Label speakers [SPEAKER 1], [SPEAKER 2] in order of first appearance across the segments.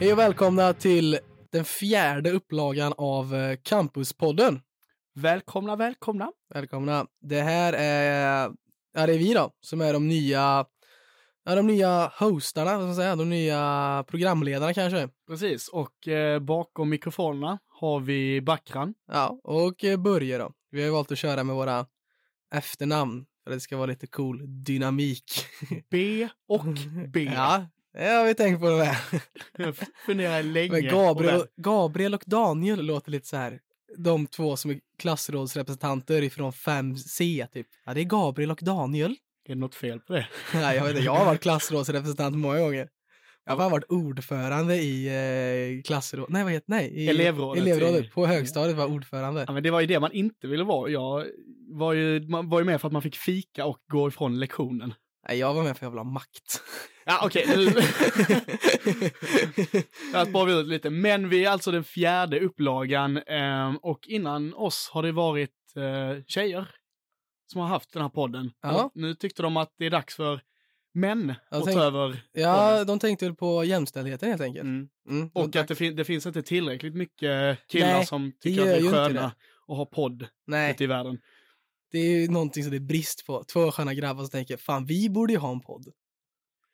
[SPEAKER 1] Hej och välkomna till den fjärde upplagan av eh, Campuspodden.
[SPEAKER 2] Välkomna, välkomna.
[SPEAKER 1] Välkomna. Det här är, ja, det är vi då, som är de nya, ja, de nya hostarna, vad ska man säga, de nya programledarna kanske.
[SPEAKER 2] Precis, och eh, bakom mikrofonerna har vi Backran.
[SPEAKER 1] Ja, och eh, Börje då. Vi har ju valt att köra med våra efternamn för att det ska vara lite cool dynamik.
[SPEAKER 2] B och B.
[SPEAKER 1] Ja, det har vi tänkt på det med.
[SPEAKER 2] Jag funderar länge.
[SPEAKER 1] Men
[SPEAKER 2] på
[SPEAKER 1] Gabriel,
[SPEAKER 2] det.
[SPEAKER 1] Gabriel och Daniel låter lite så här. De två som är klassrådsrepresentanter ifrån 5C typ. Ja, det är Gabriel och Daniel.
[SPEAKER 2] Är det något fel på det?
[SPEAKER 1] Nej, jag vet inte. Jag har varit klassrådsrepresentant många gånger. Jag har fan varit ordförande i eh, klassråd... Nej, vad heter Nej, i
[SPEAKER 2] Elevrådet.
[SPEAKER 1] elevrådet. På högstadiet var jag ordförande.
[SPEAKER 2] Ja, men det var ju det man inte ville vara. Jag var ju, man var ju med för att man fick fika och gå ifrån lektionen.
[SPEAKER 1] Nej, jag var med för jag vill ha makt.
[SPEAKER 2] Ja, okej. Där spar vi ut lite. Men vi är alltså den fjärde upplagan ehm, och innan oss har det varit eh, tjejer som har haft den här podden.
[SPEAKER 1] Ja.
[SPEAKER 2] Och Nu tyckte de att det är dags för män att
[SPEAKER 1] tänk-
[SPEAKER 2] ta över.
[SPEAKER 1] ja, de tänkte väl på jämställdheten helt enkelt.
[SPEAKER 2] Mm.
[SPEAKER 1] Mm.
[SPEAKER 2] Och att det, fin- det finns inte tillräckligt mycket killar
[SPEAKER 1] Nej,
[SPEAKER 2] som
[SPEAKER 1] gör
[SPEAKER 2] tycker att
[SPEAKER 1] ju
[SPEAKER 2] vi är
[SPEAKER 1] inte
[SPEAKER 2] sköna och har podd
[SPEAKER 1] Nej,
[SPEAKER 2] ute i världen.
[SPEAKER 1] det är ju någonting som det är brist på. Två sköna grabbar som tänker, fan vi borde ju ha en podd.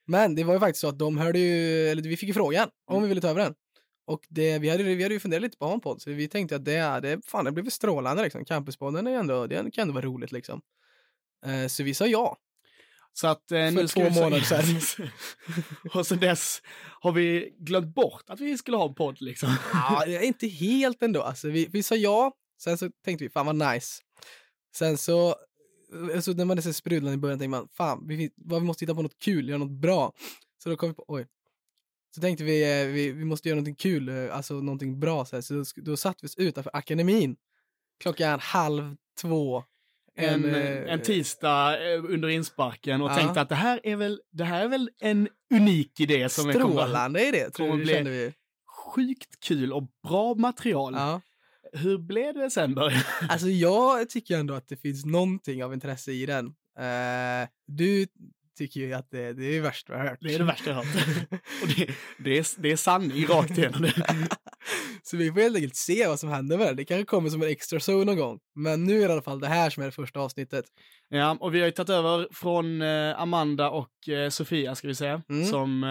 [SPEAKER 1] Men det var ju faktiskt så att de hörde ju, eller vi fick ju frågan om
[SPEAKER 2] Mm.
[SPEAKER 1] vi ville ta över den. Och det, vi, hade, vi hade ju funderat lite på att ha en podd, så vi tänkte att det, det, fan, det blev väl strålande liksom. Campuspodden är ju ändå, det kan ändå vara roligt liksom. Eh, så vi sa ja.
[SPEAKER 2] Så att eh,
[SPEAKER 1] För
[SPEAKER 2] nu ska
[SPEAKER 1] två
[SPEAKER 2] vi se-
[SPEAKER 1] månader sedan.
[SPEAKER 2] och sen dess har vi glömt bort att vi skulle ha en podd liksom.
[SPEAKER 1] ja det är inte helt ändå, alltså, vi, vi sa ja, sen så tänkte vi, fan vad nice. Sen så, eh, så när man är så sprudlande i början tänkte man, fan, vi, vad, vi måste hitta på något kul, göra något bra. Så då kom vi på, oj. Så tänkte vi, eh, vi, vi måste göra någonting kul, eh, alltså någonting bra. Så, här. så då, sk- då satt vi oss utanför akademin. Klockan halv två.
[SPEAKER 2] en,
[SPEAKER 1] eh,
[SPEAKER 2] en tisdag eh, under insparken och
[SPEAKER 1] Ja.
[SPEAKER 2] tänkte att det här, är väl, det här är väl en unik idé som är kommer att vara
[SPEAKER 1] Strålande idé, tror
[SPEAKER 2] kommer
[SPEAKER 1] jag,
[SPEAKER 2] bli-
[SPEAKER 1] kände vi.
[SPEAKER 2] sjukt kul och bra material.
[SPEAKER 1] Ja.
[SPEAKER 2] Hur blev det sen Börje?
[SPEAKER 1] Alltså jag tycker ändå att det finns någonting av intresse i den. Eh, du tycker ju att det, det är värst jag har hört.
[SPEAKER 2] Det är det värsta jag har hört. Och det, det, är, det är sanning rakt igenom.
[SPEAKER 1] Så vi får helt enkelt se vad som händer med det. Det kanske kommer som en extra show någon gång. Men nu är det i alla fall det här som är det första avsnittet.
[SPEAKER 2] Mm. Ja, och vi har ju tagit över från eh, Amanda och eh, Sofia ska vi säga.
[SPEAKER 1] Mm.
[SPEAKER 2] Som, eh,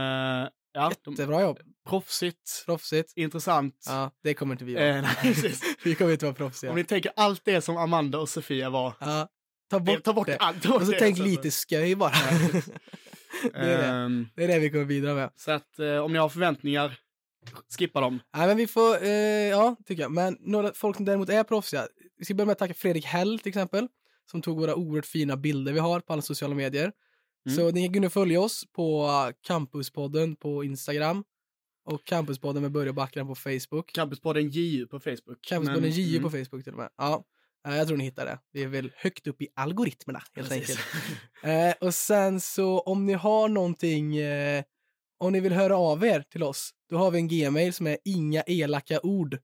[SPEAKER 2] ja, de,
[SPEAKER 1] Jättebra jobb.
[SPEAKER 2] proffsigt,
[SPEAKER 1] Proffsigt.
[SPEAKER 2] intressant.
[SPEAKER 1] Ja, det kommer inte vi vara.
[SPEAKER 2] Eh, nej, precis.
[SPEAKER 1] vi kommer inte vara
[SPEAKER 2] Om
[SPEAKER 1] proffsiga.
[SPEAKER 2] ni tänker allt det som Amanda och Sofia var.
[SPEAKER 1] Ja, ta bort,
[SPEAKER 2] ta bort
[SPEAKER 1] det.
[SPEAKER 2] allt. ta bort
[SPEAKER 1] Och så
[SPEAKER 2] det.
[SPEAKER 1] Alltså,
[SPEAKER 2] alltså.
[SPEAKER 1] tänk lite sköj bara. det, är det.
[SPEAKER 2] Ehm,
[SPEAKER 1] det är det vi kommer bidra med.
[SPEAKER 2] Så att eh, om ni har förväntningar, skippa dem.
[SPEAKER 1] Nej, men vi får, eh, ja, tycker jag. Men några folk som däremot är proffsiga. Vi ska börja med att tacka Fredrik Hell till exempel, som tog våra oerhört fina bilder vi har på alla sociala medier.
[SPEAKER 2] Mm.
[SPEAKER 1] Så ni kan gå in och följa oss på Campuspodden på Instagram och Campuspodden med Börje och Backran på Facebook.
[SPEAKER 2] Campuspodden JU på Facebook.
[SPEAKER 1] Campuspodden
[SPEAKER 2] Men-
[SPEAKER 1] JU på
[SPEAKER 2] mm,
[SPEAKER 1] Facebook till och med. Ja, eh, jag tror ni hittar det. Vi är väl högt upp i algoritmerna helt
[SPEAKER 2] precis.
[SPEAKER 1] enkelt. Eh, och sen så om ni har någonting, eh, om ni vill höra av er till oss, då har vi en gmail som är inga elaka ord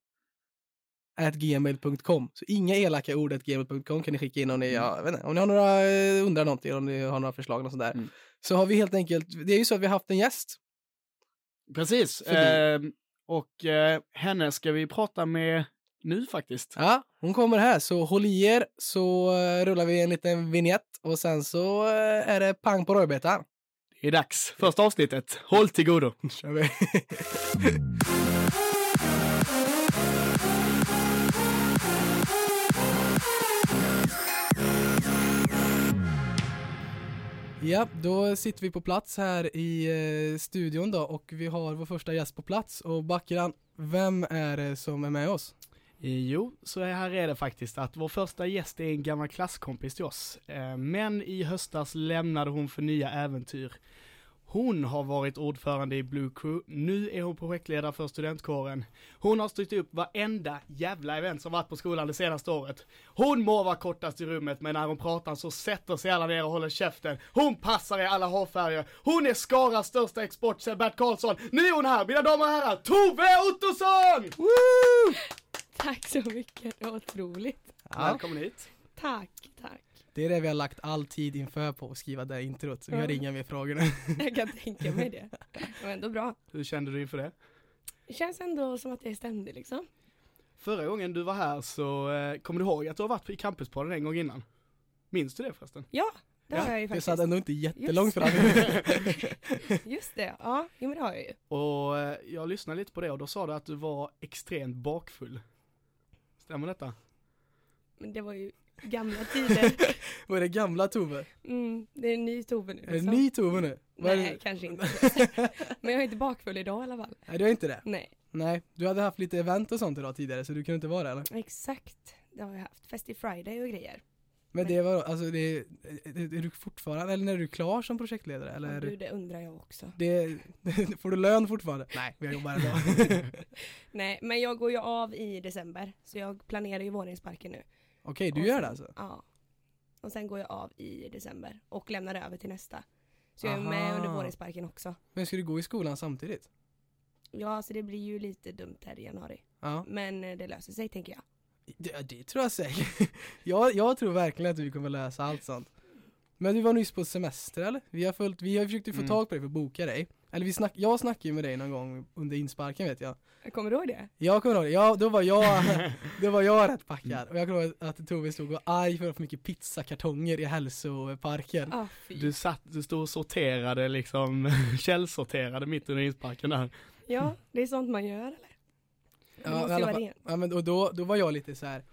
[SPEAKER 1] gmail.com. Så inga elaka ord gmail.com kan ni skicka in om ni, ja, jag vet inte, om ni har några, eh, undrar någonting, om ni har några förslag och sånt där.
[SPEAKER 2] Mm.
[SPEAKER 1] Så har vi helt enkelt, det är ju så att vi har haft en gäst.
[SPEAKER 2] Precis.
[SPEAKER 1] Förbi.
[SPEAKER 2] Ehm, och eh, henne ska vi prata med nu faktiskt.
[SPEAKER 1] Ja, hon kommer här, så håll i er så eh, rullar vi en liten vignett och sen så eh, är det pang på rödbetan.
[SPEAKER 2] Det är dags. Första avsnittet. Håll till godo.
[SPEAKER 1] kör vi. Ja, då sitter vi på plats här i eh, studion då och vi har vår första gäst på plats och Bakran, vem är det som är med oss?
[SPEAKER 2] Eh, Jo, så här är det faktiskt att vår första gäst är en gammal klasskompis till oss. Eh, Men i höstas lämnade hon för nya äventyr. Hon har varit ordförande i Blue Crew, nu är hon projektledare för studentkåren. Hon har styrt upp varenda jävla event som varit på skolan det senaste året. Hon må vara kortast i rummet, men när hon pratar så sätter sig alla ner och håller käften. Hon passar i alla hårfärger. Hon är Skaras största export sedan Bert Karlsson. Nu är hon här, mina damer och herrar, Tove Ottosson! Woo!
[SPEAKER 3] Tack så mycket, det var otroligt.
[SPEAKER 2] Välkommen hit.
[SPEAKER 3] Tack, tack.
[SPEAKER 1] Det är det vi har lagt all tid inför på att skriva det här introt, så vi har
[SPEAKER 3] Ja.
[SPEAKER 1] inga mer frågor nu.
[SPEAKER 3] Jag kan tänka mig det. Det var ändå bra.
[SPEAKER 2] Hur kände du inför det?
[SPEAKER 3] Det känns ändå som att jag är ständig liksom.
[SPEAKER 2] Förra gången du var här så eh, kommer du ihåg att du har varit i Campuspodden en gång innan? Minns du det förresten?
[SPEAKER 3] Ja, det
[SPEAKER 2] Ja,
[SPEAKER 3] har jag
[SPEAKER 1] Det
[SPEAKER 3] ju faktiskt.
[SPEAKER 1] satt ändå inte jättelångt
[SPEAKER 3] Just.
[SPEAKER 1] fram.
[SPEAKER 3] Just det, ja, jo, men det har jag ju.
[SPEAKER 2] Och eh, jag lyssnade lite på det och då sa du att du var extremt bakfull. Stämmer detta?
[SPEAKER 3] Men det var ju gamla tider.
[SPEAKER 1] Vad är det gamla Tove?
[SPEAKER 3] Mm, det är en ny Tove nu.
[SPEAKER 1] Är det
[SPEAKER 3] liksom.
[SPEAKER 1] ny Tove nu? Vad är det-
[SPEAKER 3] Nej, kanske inte. men jag är inte bakfull idag i alla fall.
[SPEAKER 1] Nej, du är inte det?
[SPEAKER 3] Nej,
[SPEAKER 1] Nej, du hade haft lite event och sånt idag tidigare, så du kunde inte vara där eller?
[SPEAKER 3] exakt. Det har jag haft. Festi Friday och grejer.
[SPEAKER 1] Men det var, alltså det, är- är är du fortfarande, eller när är du klar som projektledare eller? Är
[SPEAKER 3] Och
[SPEAKER 1] du,
[SPEAKER 3] du, det undrar jag också.
[SPEAKER 1] det, får du lön fortfarande? Nej, jag jobbar ändå.
[SPEAKER 3] Nej, men jag går ju av i december. Så jag planerar ju våningsparken nu.
[SPEAKER 1] Okej, du
[SPEAKER 3] Och
[SPEAKER 1] gör
[SPEAKER 3] sen-
[SPEAKER 1] det alltså?
[SPEAKER 3] Ja. Och sen går jag av i december och lämnar över till nästa. Så jag är
[SPEAKER 1] Aha.
[SPEAKER 3] med under våningsparken också.
[SPEAKER 1] Men ska du gå i skolan samtidigt?
[SPEAKER 3] Ja, så det blir ju lite dumt här i januari.
[SPEAKER 1] Ja,
[SPEAKER 3] Men eh, det löser sig tänker jag.
[SPEAKER 1] det, det tror jag säkert. Jag, jag tror verkligen att du kommer lösa allt sånt. Men du var nyss på semester eller? Vi har, följt, vi har försökt få
[SPEAKER 2] Mm.
[SPEAKER 1] tag på dig för att boka dig. Eller vi snack, jag snackade ju med dig någon gång under insparken vet jag.
[SPEAKER 3] Kommer du ihåg det?
[SPEAKER 1] Jag kommer ihåg det, jag, då var jag, då var jag rätt packad. Och jag kommer ihåg att Tove stod och var arg för att ha för mycket pizzakartonger i hälsoparken.
[SPEAKER 3] Ja, Ah, fy.
[SPEAKER 2] Du satt, du stod och sorterade liksom, källsorterade mitt under isparken där.
[SPEAKER 3] Ja, det är sånt man gör eller?
[SPEAKER 1] Ja,
[SPEAKER 3] Det måste
[SPEAKER 1] i
[SPEAKER 3] ju
[SPEAKER 1] alla
[SPEAKER 3] vara
[SPEAKER 1] fall.
[SPEAKER 3] rent.
[SPEAKER 1] Ja men och då, då var jag lite så här.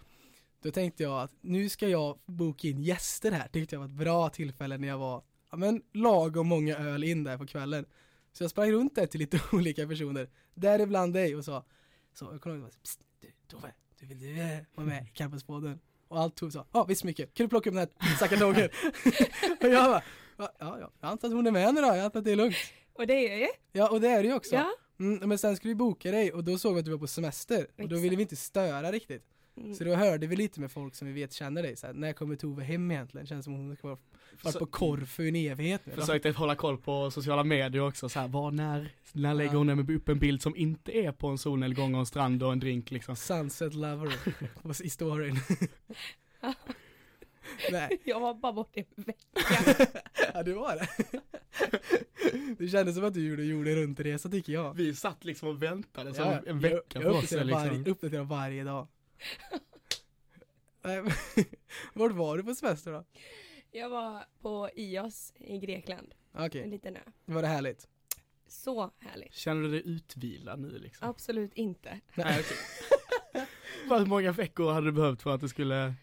[SPEAKER 1] Då tänkte jag att nu ska jag boka in gäster här. Tyckte jag var ett bra tillfälle när jag var ja, men lagom många öl in där på kvällen. Så jag sprang runt där till lite olika personer, däribland dig och sa så jag kom ihåg och bara, "Psst, du Tove, du vill du eh, vara med i Campuspodden? Och allt Tove sa, ja visst mycket, kan du plocka upp den här pizzakartongen? och jag bara, "Va? ja, ja, jag antar att hon är med nu då, jag antar att det är lugnt.
[SPEAKER 3] Och det är jag ju.
[SPEAKER 1] Ja och det är det ju också.
[SPEAKER 3] Ja.
[SPEAKER 1] Mm, men sen skulle vi boka dig och då såg vi att du var på semester och då ville vi inte störa riktigt.
[SPEAKER 3] Mm.
[SPEAKER 1] Så då hörde vi lite med folk som vi vet känner dig såhär, när kommer Tove hem egentligen? Känns som hon har varit
[SPEAKER 2] Så-
[SPEAKER 1] på Korfu i en evighet nu.
[SPEAKER 2] Försökte hålla koll på sociala medier också så här, var, när, när lägger
[SPEAKER 1] Ja.
[SPEAKER 2] hon upp en bild som inte är på en solnedgång och en strand och en drink liksom.
[SPEAKER 1] Sunset lover på- i storyn. Nej,
[SPEAKER 3] Jag var bara borta i en vecka.
[SPEAKER 1] ja du var det. Det kändes som att du gjorde, gjorde en rundresa tycker jag.
[SPEAKER 2] Vi satt liksom och väntade som
[SPEAKER 1] Ja,
[SPEAKER 2] en vecka
[SPEAKER 1] jag,
[SPEAKER 2] på
[SPEAKER 1] jag
[SPEAKER 2] oss.
[SPEAKER 1] uppdaterar
[SPEAKER 2] Liksom.
[SPEAKER 1] varje, uppdaterar varje dag. Nej, men- Vart var du på semester då?
[SPEAKER 3] Jag var på Ios i Grekland,
[SPEAKER 1] Okej,
[SPEAKER 3] en liten ö.
[SPEAKER 1] var det härligt?
[SPEAKER 3] Så härligt.
[SPEAKER 2] Känner du dig utvilad nu liksom?
[SPEAKER 3] Absolut inte.
[SPEAKER 2] Nej, okej. Hur många veckor hade du behövt för att det skulle...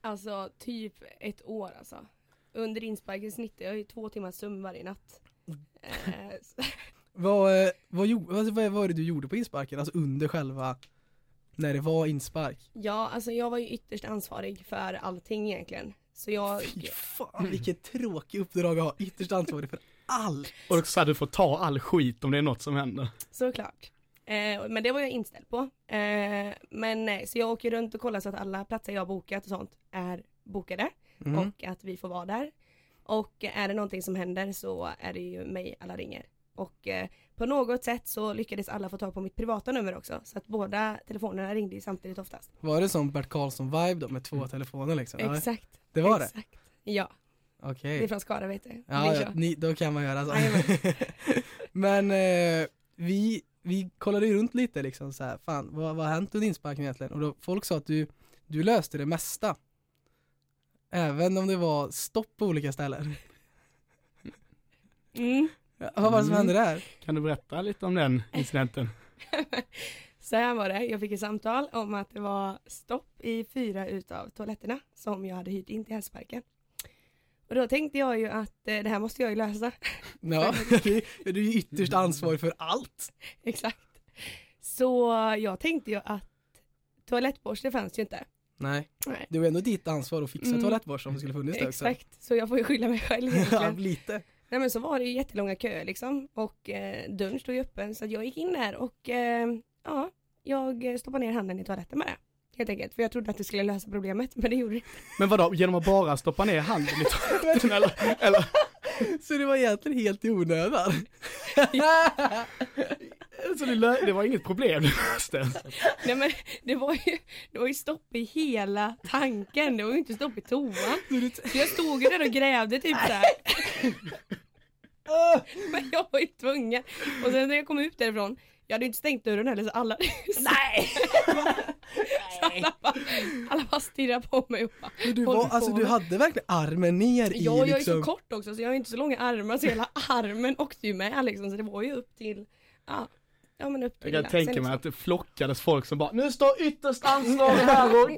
[SPEAKER 3] Alltså typ ett år alltså. Under insparken snittar jag ju två timmars sömn varje natt.
[SPEAKER 1] Mm.
[SPEAKER 3] Eh, så-
[SPEAKER 1] Vad, eh, vad, gjo- alltså, vad var det du gjorde på insparken? Alltså under själva, när det var inspark?
[SPEAKER 3] ja, alltså jag var ju ytterst ansvarig för allting egentligen. Så jag,
[SPEAKER 1] Fy fan vilket tråkigt uppdrag att ha, ytterst ansvarig för allt!
[SPEAKER 2] Och också så här, du får ta all skit om det är något som händer.
[SPEAKER 3] såklart. Eh, men det var jag inställd på. Eh, men nej, så jag åker runt och kollar så att alla platser jag har bokat och sånt är bokade.
[SPEAKER 1] Mm.
[SPEAKER 3] Och att vi får vara där. Och är det någonting som händer så är det ju mig alla ringer. Och eh, på något sätt så lyckades alla få tag på mitt privata nummer också. Så att båda telefonerna ringde ju samtidigt oftast.
[SPEAKER 1] Var det som Bert Karlsson-vibe då med två telefoner liksom? Ja,
[SPEAKER 3] Mm. Exakt.
[SPEAKER 1] det var det?
[SPEAKER 3] exakt. Ja,
[SPEAKER 1] Okej.
[SPEAKER 3] det är från Skara vet du.
[SPEAKER 1] Ja, ja ni, då kan man göra så.
[SPEAKER 3] Jajamän.
[SPEAKER 1] Men eh, vi, vi kollade ju runt lite liksom så här, fan vad, vad har hänt under insparken egentligen? Och då, folk sa att du, du löste det mesta. Även om det var stopp på olika ställen.
[SPEAKER 3] Mm.
[SPEAKER 1] Ja, vad var det som
[SPEAKER 2] Mm.
[SPEAKER 1] hände där?
[SPEAKER 2] Kan du berätta lite om den incidenten?
[SPEAKER 3] Så här var det, jag fick ett samtal om att det var stopp i fyra utav toaletterna som jag hade hyrt in till hälsoparken. Och då tänkte jag ju att eh, det här måste jag ju lösa.
[SPEAKER 1] Ja, du, du är ju ytterst ansvarig för allt.
[SPEAKER 3] Exakt. Så jag tänkte ju att toalettborste fanns ju inte.
[SPEAKER 1] Nej,
[SPEAKER 3] Nej.
[SPEAKER 1] det var ändå ditt ansvar att fixa
[SPEAKER 3] Mm.
[SPEAKER 1] toalettborsten om det skulle funnits där också.
[SPEAKER 3] Exakt, så jag får ju skylla mig själv egentligen.
[SPEAKER 1] lite.
[SPEAKER 3] Nej men så var det ju jättelånga köer liksom och eh, dörren stod ju öppen så att jag gick in där och eh, ja, jag stoppade ner handen i toaletten med det. Helt enkelt, för jag trodde att det skulle lösa problemet men det gjorde det inte.
[SPEAKER 2] Men vadå, genom att bara stoppa ner handen i toaletten eller? eller?
[SPEAKER 1] Så det var egentligen helt i onödan.
[SPEAKER 2] Så det, lö- det var inget problem det löste.
[SPEAKER 3] Nej men det var ju, det var ju stopp i hela tanken, det var ju inte stopp i toan. Så jag stod ju där och grävde typ såhär. Men jag var ju tvungen. Och sen när jag kom ut därifrån, jag hade ju inte stängt dörren heller så alla Nej! så alla, bara, alla bara stirrade på mig och bara,
[SPEAKER 1] Men du,
[SPEAKER 3] "Håller
[SPEAKER 1] var,
[SPEAKER 3] på
[SPEAKER 1] alltså, du
[SPEAKER 3] med?"
[SPEAKER 1] hade verkligen armen ner i
[SPEAKER 3] Ja, jag är ju så
[SPEAKER 1] liksom.
[SPEAKER 3] kort också så jag har ju inte så långa armar så hela armen åkte ju med liksom så det var ju upp till, ja, ja men upp
[SPEAKER 2] Jag
[SPEAKER 3] till
[SPEAKER 2] kan
[SPEAKER 3] där.
[SPEAKER 2] tänka
[SPEAKER 3] Sen
[SPEAKER 2] mig
[SPEAKER 3] liksom-
[SPEAKER 2] att det flockades folk som bara Nu står ytterst ansvarig här och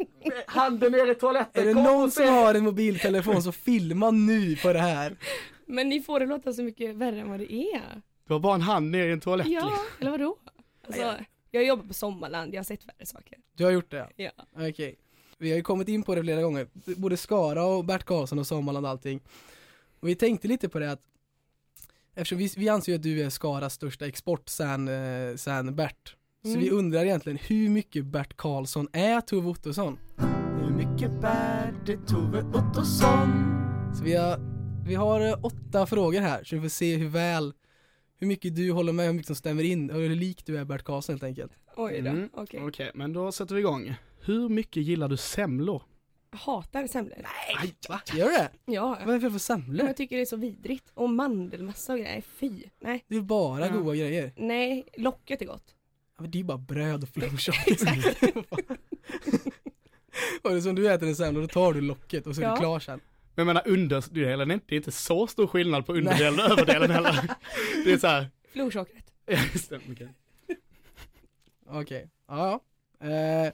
[SPEAKER 2] handen ner i toaletten,
[SPEAKER 1] Är det
[SPEAKER 2] kom och
[SPEAKER 1] någon
[SPEAKER 2] se."
[SPEAKER 1] som har en mobiltelefon så filma nu på det här.
[SPEAKER 3] Men ni får det låta så mycket värre än vad det är.
[SPEAKER 2] Det var bara en hand ner i en toalett
[SPEAKER 3] Ja,
[SPEAKER 2] liksom.
[SPEAKER 3] eller vadå? Alltså, jag jobbar på Sommarland, jag har sett värre saker.
[SPEAKER 1] Du har gjort det?
[SPEAKER 3] Ja.
[SPEAKER 1] Okej. Vi har ju kommit in på det flera gånger. Både Skara och Bert Karlsson och Sommarland och allting. Och vi tänkte lite på det att eftersom vi, vi anser ju att du är Skaras största export sen, eh, sen Bert. Så vi
[SPEAKER 3] Mm.
[SPEAKER 1] undrar egentligen hur mycket Bert Karlsson är Tove Ottosson?
[SPEAKER 2] Hur mycket bär det Tove Ottosson?
[SPEAKER 1] Så vi har, vi har eh, åtta frågor här så vi får se hur väl, hur mycket du håller med, hur mycket som stämmer in och hur lik du är Bert Karlsson helt enkelt.
[SPEAKER 3] Oj då,
[SPEAKER 2] Mm.
[SPEAKER 3] okej.
[SPEAKER 2] Okej, men då sätter vi igång. Hur mycket gillar du semlor?
[SPEAKER 3] Hatar semlor. Nej.
[SPEAKER 2] Aj, va?
[SPEAKER 1] Gör du det?
[SPEAKER 3] Ja.
[SPEAKER 1] Vad är det för- för
[SPEAKER 3] Men
[SPEAKER 1] semlor?
[SPEAKER 3] jag tycker det är så vidrigt. Och mandelmassa och grejer, fy. Nej.
[SPEAKER 1] Det är bara
[SPEAKER 2] Ja.
[SPEAKER 1] goda grejer.
[SPEAKER 3] Nej, locket är gott.
[SPEAKER 1] Ja, men det är ju bara bröd och flingchocker. och det är som du äter en semla, då tar du locket och så är
[SPEAKER 3] Ja.
[SPEAKER 1] du klar sen.
[SPEAKER 2] Men jag menar underdelen, det är inte- det är inte så stor skillnad på underdelen och överdelen heller. Det är så här.
[SPEAKER 3] Florsockret.
[SPEAKER 2] Ja, just det, okej.
[SPEAKER 1] Okej, ja ja. Eh,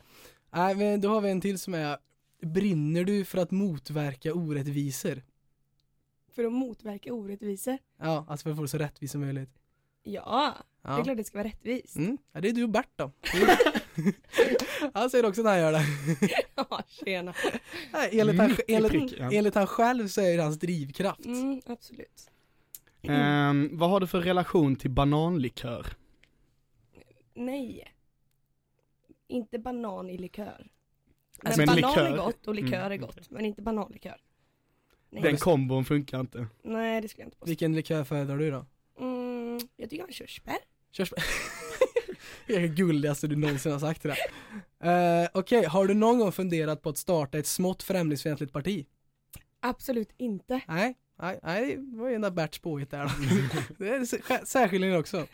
[SPEAKER 1] Nej men då har vi en till som är Brinner du för att motverka orättvisor?
[SPEAKER 3] För att motverka orättvisor.
[SPEAKER 1] Ja, alltså för att få det så rättvist som möjligt.
[SPEAKER 3] Ja,
[SPEAKER 1] Ja.
[SPEAKER 3] det är klart det ska vara rättvist.
[SPEAKER 1] Mm. Ja, det är du och Bert då. han säger också när han gör det.
[SPEAKER 3] Ja, tjena.
[SPEAKER 1] Nej, enligt, han,
[SPEAKER 2] Mitt i
[SPEAKER 1] enligt,
[SPEAKER 2] prick, ja.
[SPEAKER 1] enligt han själv så är det hans drivkraft.
[SPEAKER 3] Mm, absolut.
[SPEAKER 2] Ehm, vad har du för relation till bananlikör?
[SPEAKER 3] Nej. Inte banan i likör. Men,
[SPEAKER 2] Men
[SPEAKER 3] banan
[SPEAKER 2] likör-
[SPEAKER 3] är gott och likör
[SPEAKER 2] Mm,
[SPEAKER 3] är gott, men inte bananlikör. Nej,
[SPEAKER 2] Den kombon funkar inte.
[SPEAKER 3] nej, det skulle jag inte påstå.
[SPEAKER 1] Vilken likör föredrar du då?
[SPEAKER 3] Mm, jag tycker om körsbär.
[SPEAKER 1] Körsbär. Det är det gulligaste du någonsin har sagt det där. Eh, Okej, har du någon gång funderat på att starta ett smått främlingsfientligt parti?
[SPEAKER 3] Absolut inte.
[SPEAKER 1] Nej, nej, nej det var ju enda Berts påhitt där. det är sä- särskiljningen också.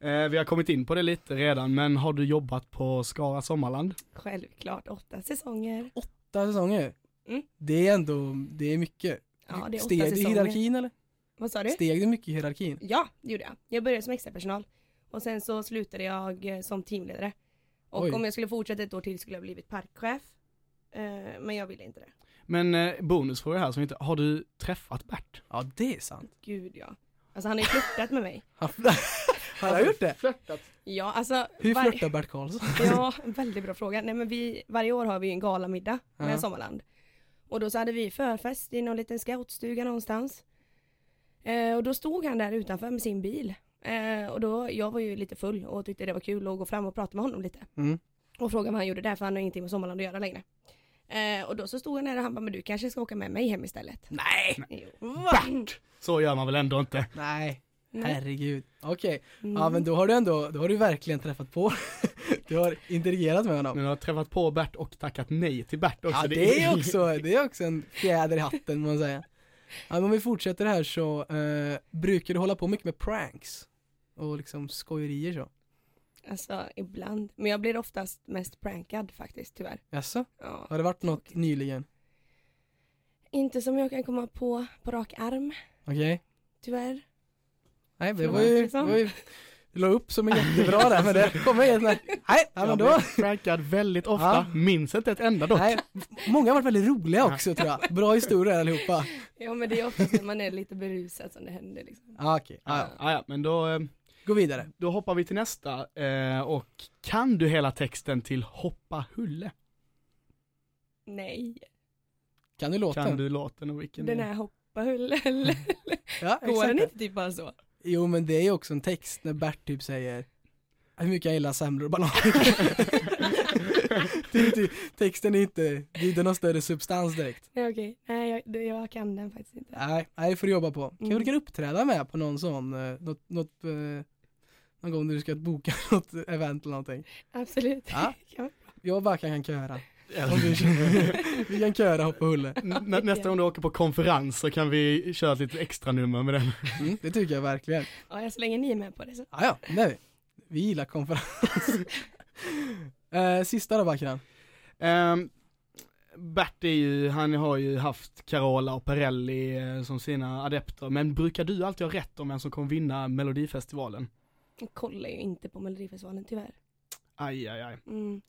[SPEAKER 2] Eh, vi har kommit in på det lite redan, men har du jobbat på Skara Sommarland?
[SPEAKER 3] Självklart, åtta säsonger.
[SPEAKER 1] Åtta säsonger.
[SPEAKER 3] Mm.
[SPEAKER 1] Det är ändå, det är mycket.
[SPEAKER 3] Ja, det är åtta
[SPEAKER 1] Steg du i
[SPEAKER 3] säsonger.
[SPEAKER 1] hierarkin eller?
[SPEAKER 3] Vad sa du?
[SPEAKER 1] Steg du mycket i hierarkin?
[SPEAKER 3] Ja, det gjorde jag. Jag började som extrapersonal. Och sen så slutade jag eh, som teamledare. Och
[SPEAKER 1] Oj.
[SPEAKER 3] om jag skulle fortsätta ett år till skulle jag blivit parkchef. Eh, Men jag ville inte det.
[SPEAKER 2] Men eh, bonusfråga här som inte, har du träffat Bert?
[SPEAKER 1] Ja, det är sant.
[SPEAKER 3] Gud ja. Alltså han har ju flörtat med mig.
[SPEAKER 1] Han han har gjort det.
[SPEAKER 2] Flörtat.
[SPEAKER 3] Ja, alltså.
[SPEAKER 1] Hur
[SPEAKER 3] varje-
[SPEAKER 1] flörtar Bert Karlsson?
[SPEAKER 3] Ja, väldigt bra fråga. Nej men vi, varje år har vi ju en galamiddag med
[SPEAKER 1] Ja.
[SPEAKER 3] Sommarland. Och då så hade vi förfest i någon liten scoutstuga någonstans. Eh, och då stod han där utanför med sin bil. Eh, och då, jag var ju lite full och tyckte det var kul att gå fram och prata med honom lite.
[SPEAKER 1] Mm.
[SPEAKER 3] Och frågade vad han gjorde där för han har ingenting med Sommarland att göra längre. Eh, och då så stod han där och han bara, men du kanske ska åka med mig hem istället.
[SPEAKER 1] Nej!
[SPEAKER 3] Jo.
[SPEAKER 2] Bert! Så gör man väl ändå inte?
[SPEAKER 1] Nej,
[SPEAKER 3] Nej.
[SPEAKER 1] herregud. Okej,
[SPEAKER 3] Mm.
[SPEAKER 1] ja men då har du ändå, då har du verkligen träffat på. du har interagerat med honom.
[SPEAKER 2] Men du har träffat på Bert och tackat nej till Bert också.
[SPEAKER 1] Ja det är också, det är också en fjäder i hatten må man säga. Ja, men om vi fortsätter här så, eh, brukar du hålla på mycket med pranks? Och liksom skojerier så?
[SPEAKER 3] Alltså ibland. Men jag blir oftast mest prankad faktiskt tyvärr.
[SPEAKER 1] Jaså?
[SPEAKER 3] Ja.
[SPEAKER 1] Har det varit något nyligen?
[SPEAKER 3] Inte som jag kan komma på på rak arm
[SPEAKER 1] Okej?
[SPEAKER 3] tyvärr.
[SPEAKER 1] Nej det var ju, det
[SPEAKER 3] Liksom.
[SPEAKER 1] var ju du la upp som en jättebra där men det kommer helt nej. Nej, ja, men
[SPEAKER 2] Jag
[SPEAKER 1] då.
[SPEAKER 2] blir prankad väldigt ofta,
[SPEAKER 1] Ja.
[SPEAKER 2] minns inte ett enda dock.
[SPEAKER 1] Nej, många har varit väldigt roliga också tror jag. Bra historier allihopa.
[SPEAKER 3] Ja men det är oftast när man är lite berusad som det händer liksom.
[SPEAKER 1] Ja okej, ja,
[SPEAKER 2] Ja,
[SPEAKER 1] ja.
[SPEAKER 2] ja, men då, eh,
[SPEAKER 1] gå vidare.
[SPEAKER 2] då hoppar vi till nästa eh, och kan du hela texten till Hoppa Hulle?
[SPEAKER 3] Nej,
[SPEAKER 1] Kan du låten?
[SPEAKER 2] Kan du låten och vilken?
[SPEAKER 3] den här hoppa pappa höll. höll.
[SPEAKER 1] Ja,
[SPEAKER 3] Går den
[SPEAKER 1] exakt.
[SPEAKER 3] inte typ bara så?
[SPEAKER 1] Jo men det är ju också en text när Bert typ säger hur mycket jag gillar semlor och bananer. det är inte, texten är inte, det är inte någon större substans direkt.
[SPEAKER 3] Nej okej, nej jag, det- jag kan den faktiskt inte.
[SPEAKER 1] Nej, nej det får du jobba på. Kanske
[SPEAKER 3] Mm.
[SPEAKER 1] du kan uppträda med på någon sån, eh, något, något eh, någon gång när du ska boka något event eller någonting.
[SPEAKER 3] Absolut.
[SPEAKER 1] Ja.
[SPEAKER 3] Kan-
[SPEAKER 1] Jag och Barkan kan köra. Om du, vi kan köra Hoppa Hulle.
[SPEAKER 2] Nä, nästa gång du åker på konferens så kan vi köra ett litet extra nummer med den.
[SPEAKER 1] Mm, det tycker jag verkligen.
[SPEAKER 3] ja, jag slänger ni är med på det så.
[SPEAKER 1] Ah, ja, det är vi. Vi gillar konferens. eh, sista då Barkan.
[SPEAKER 2] Ehm, Bert är ju, han har ju haft Carola och Perrelli eh, som sina adepter, men brukar du alltid ha rätt om vem som kommer vinna Melodifestivalen?
[SPEAKER 3] Jag kollar ju inte på Melodifestivalen tyvärr.
[SPEAKER 2] Aj, aj, aj.
[SPEAKER 3] Mm.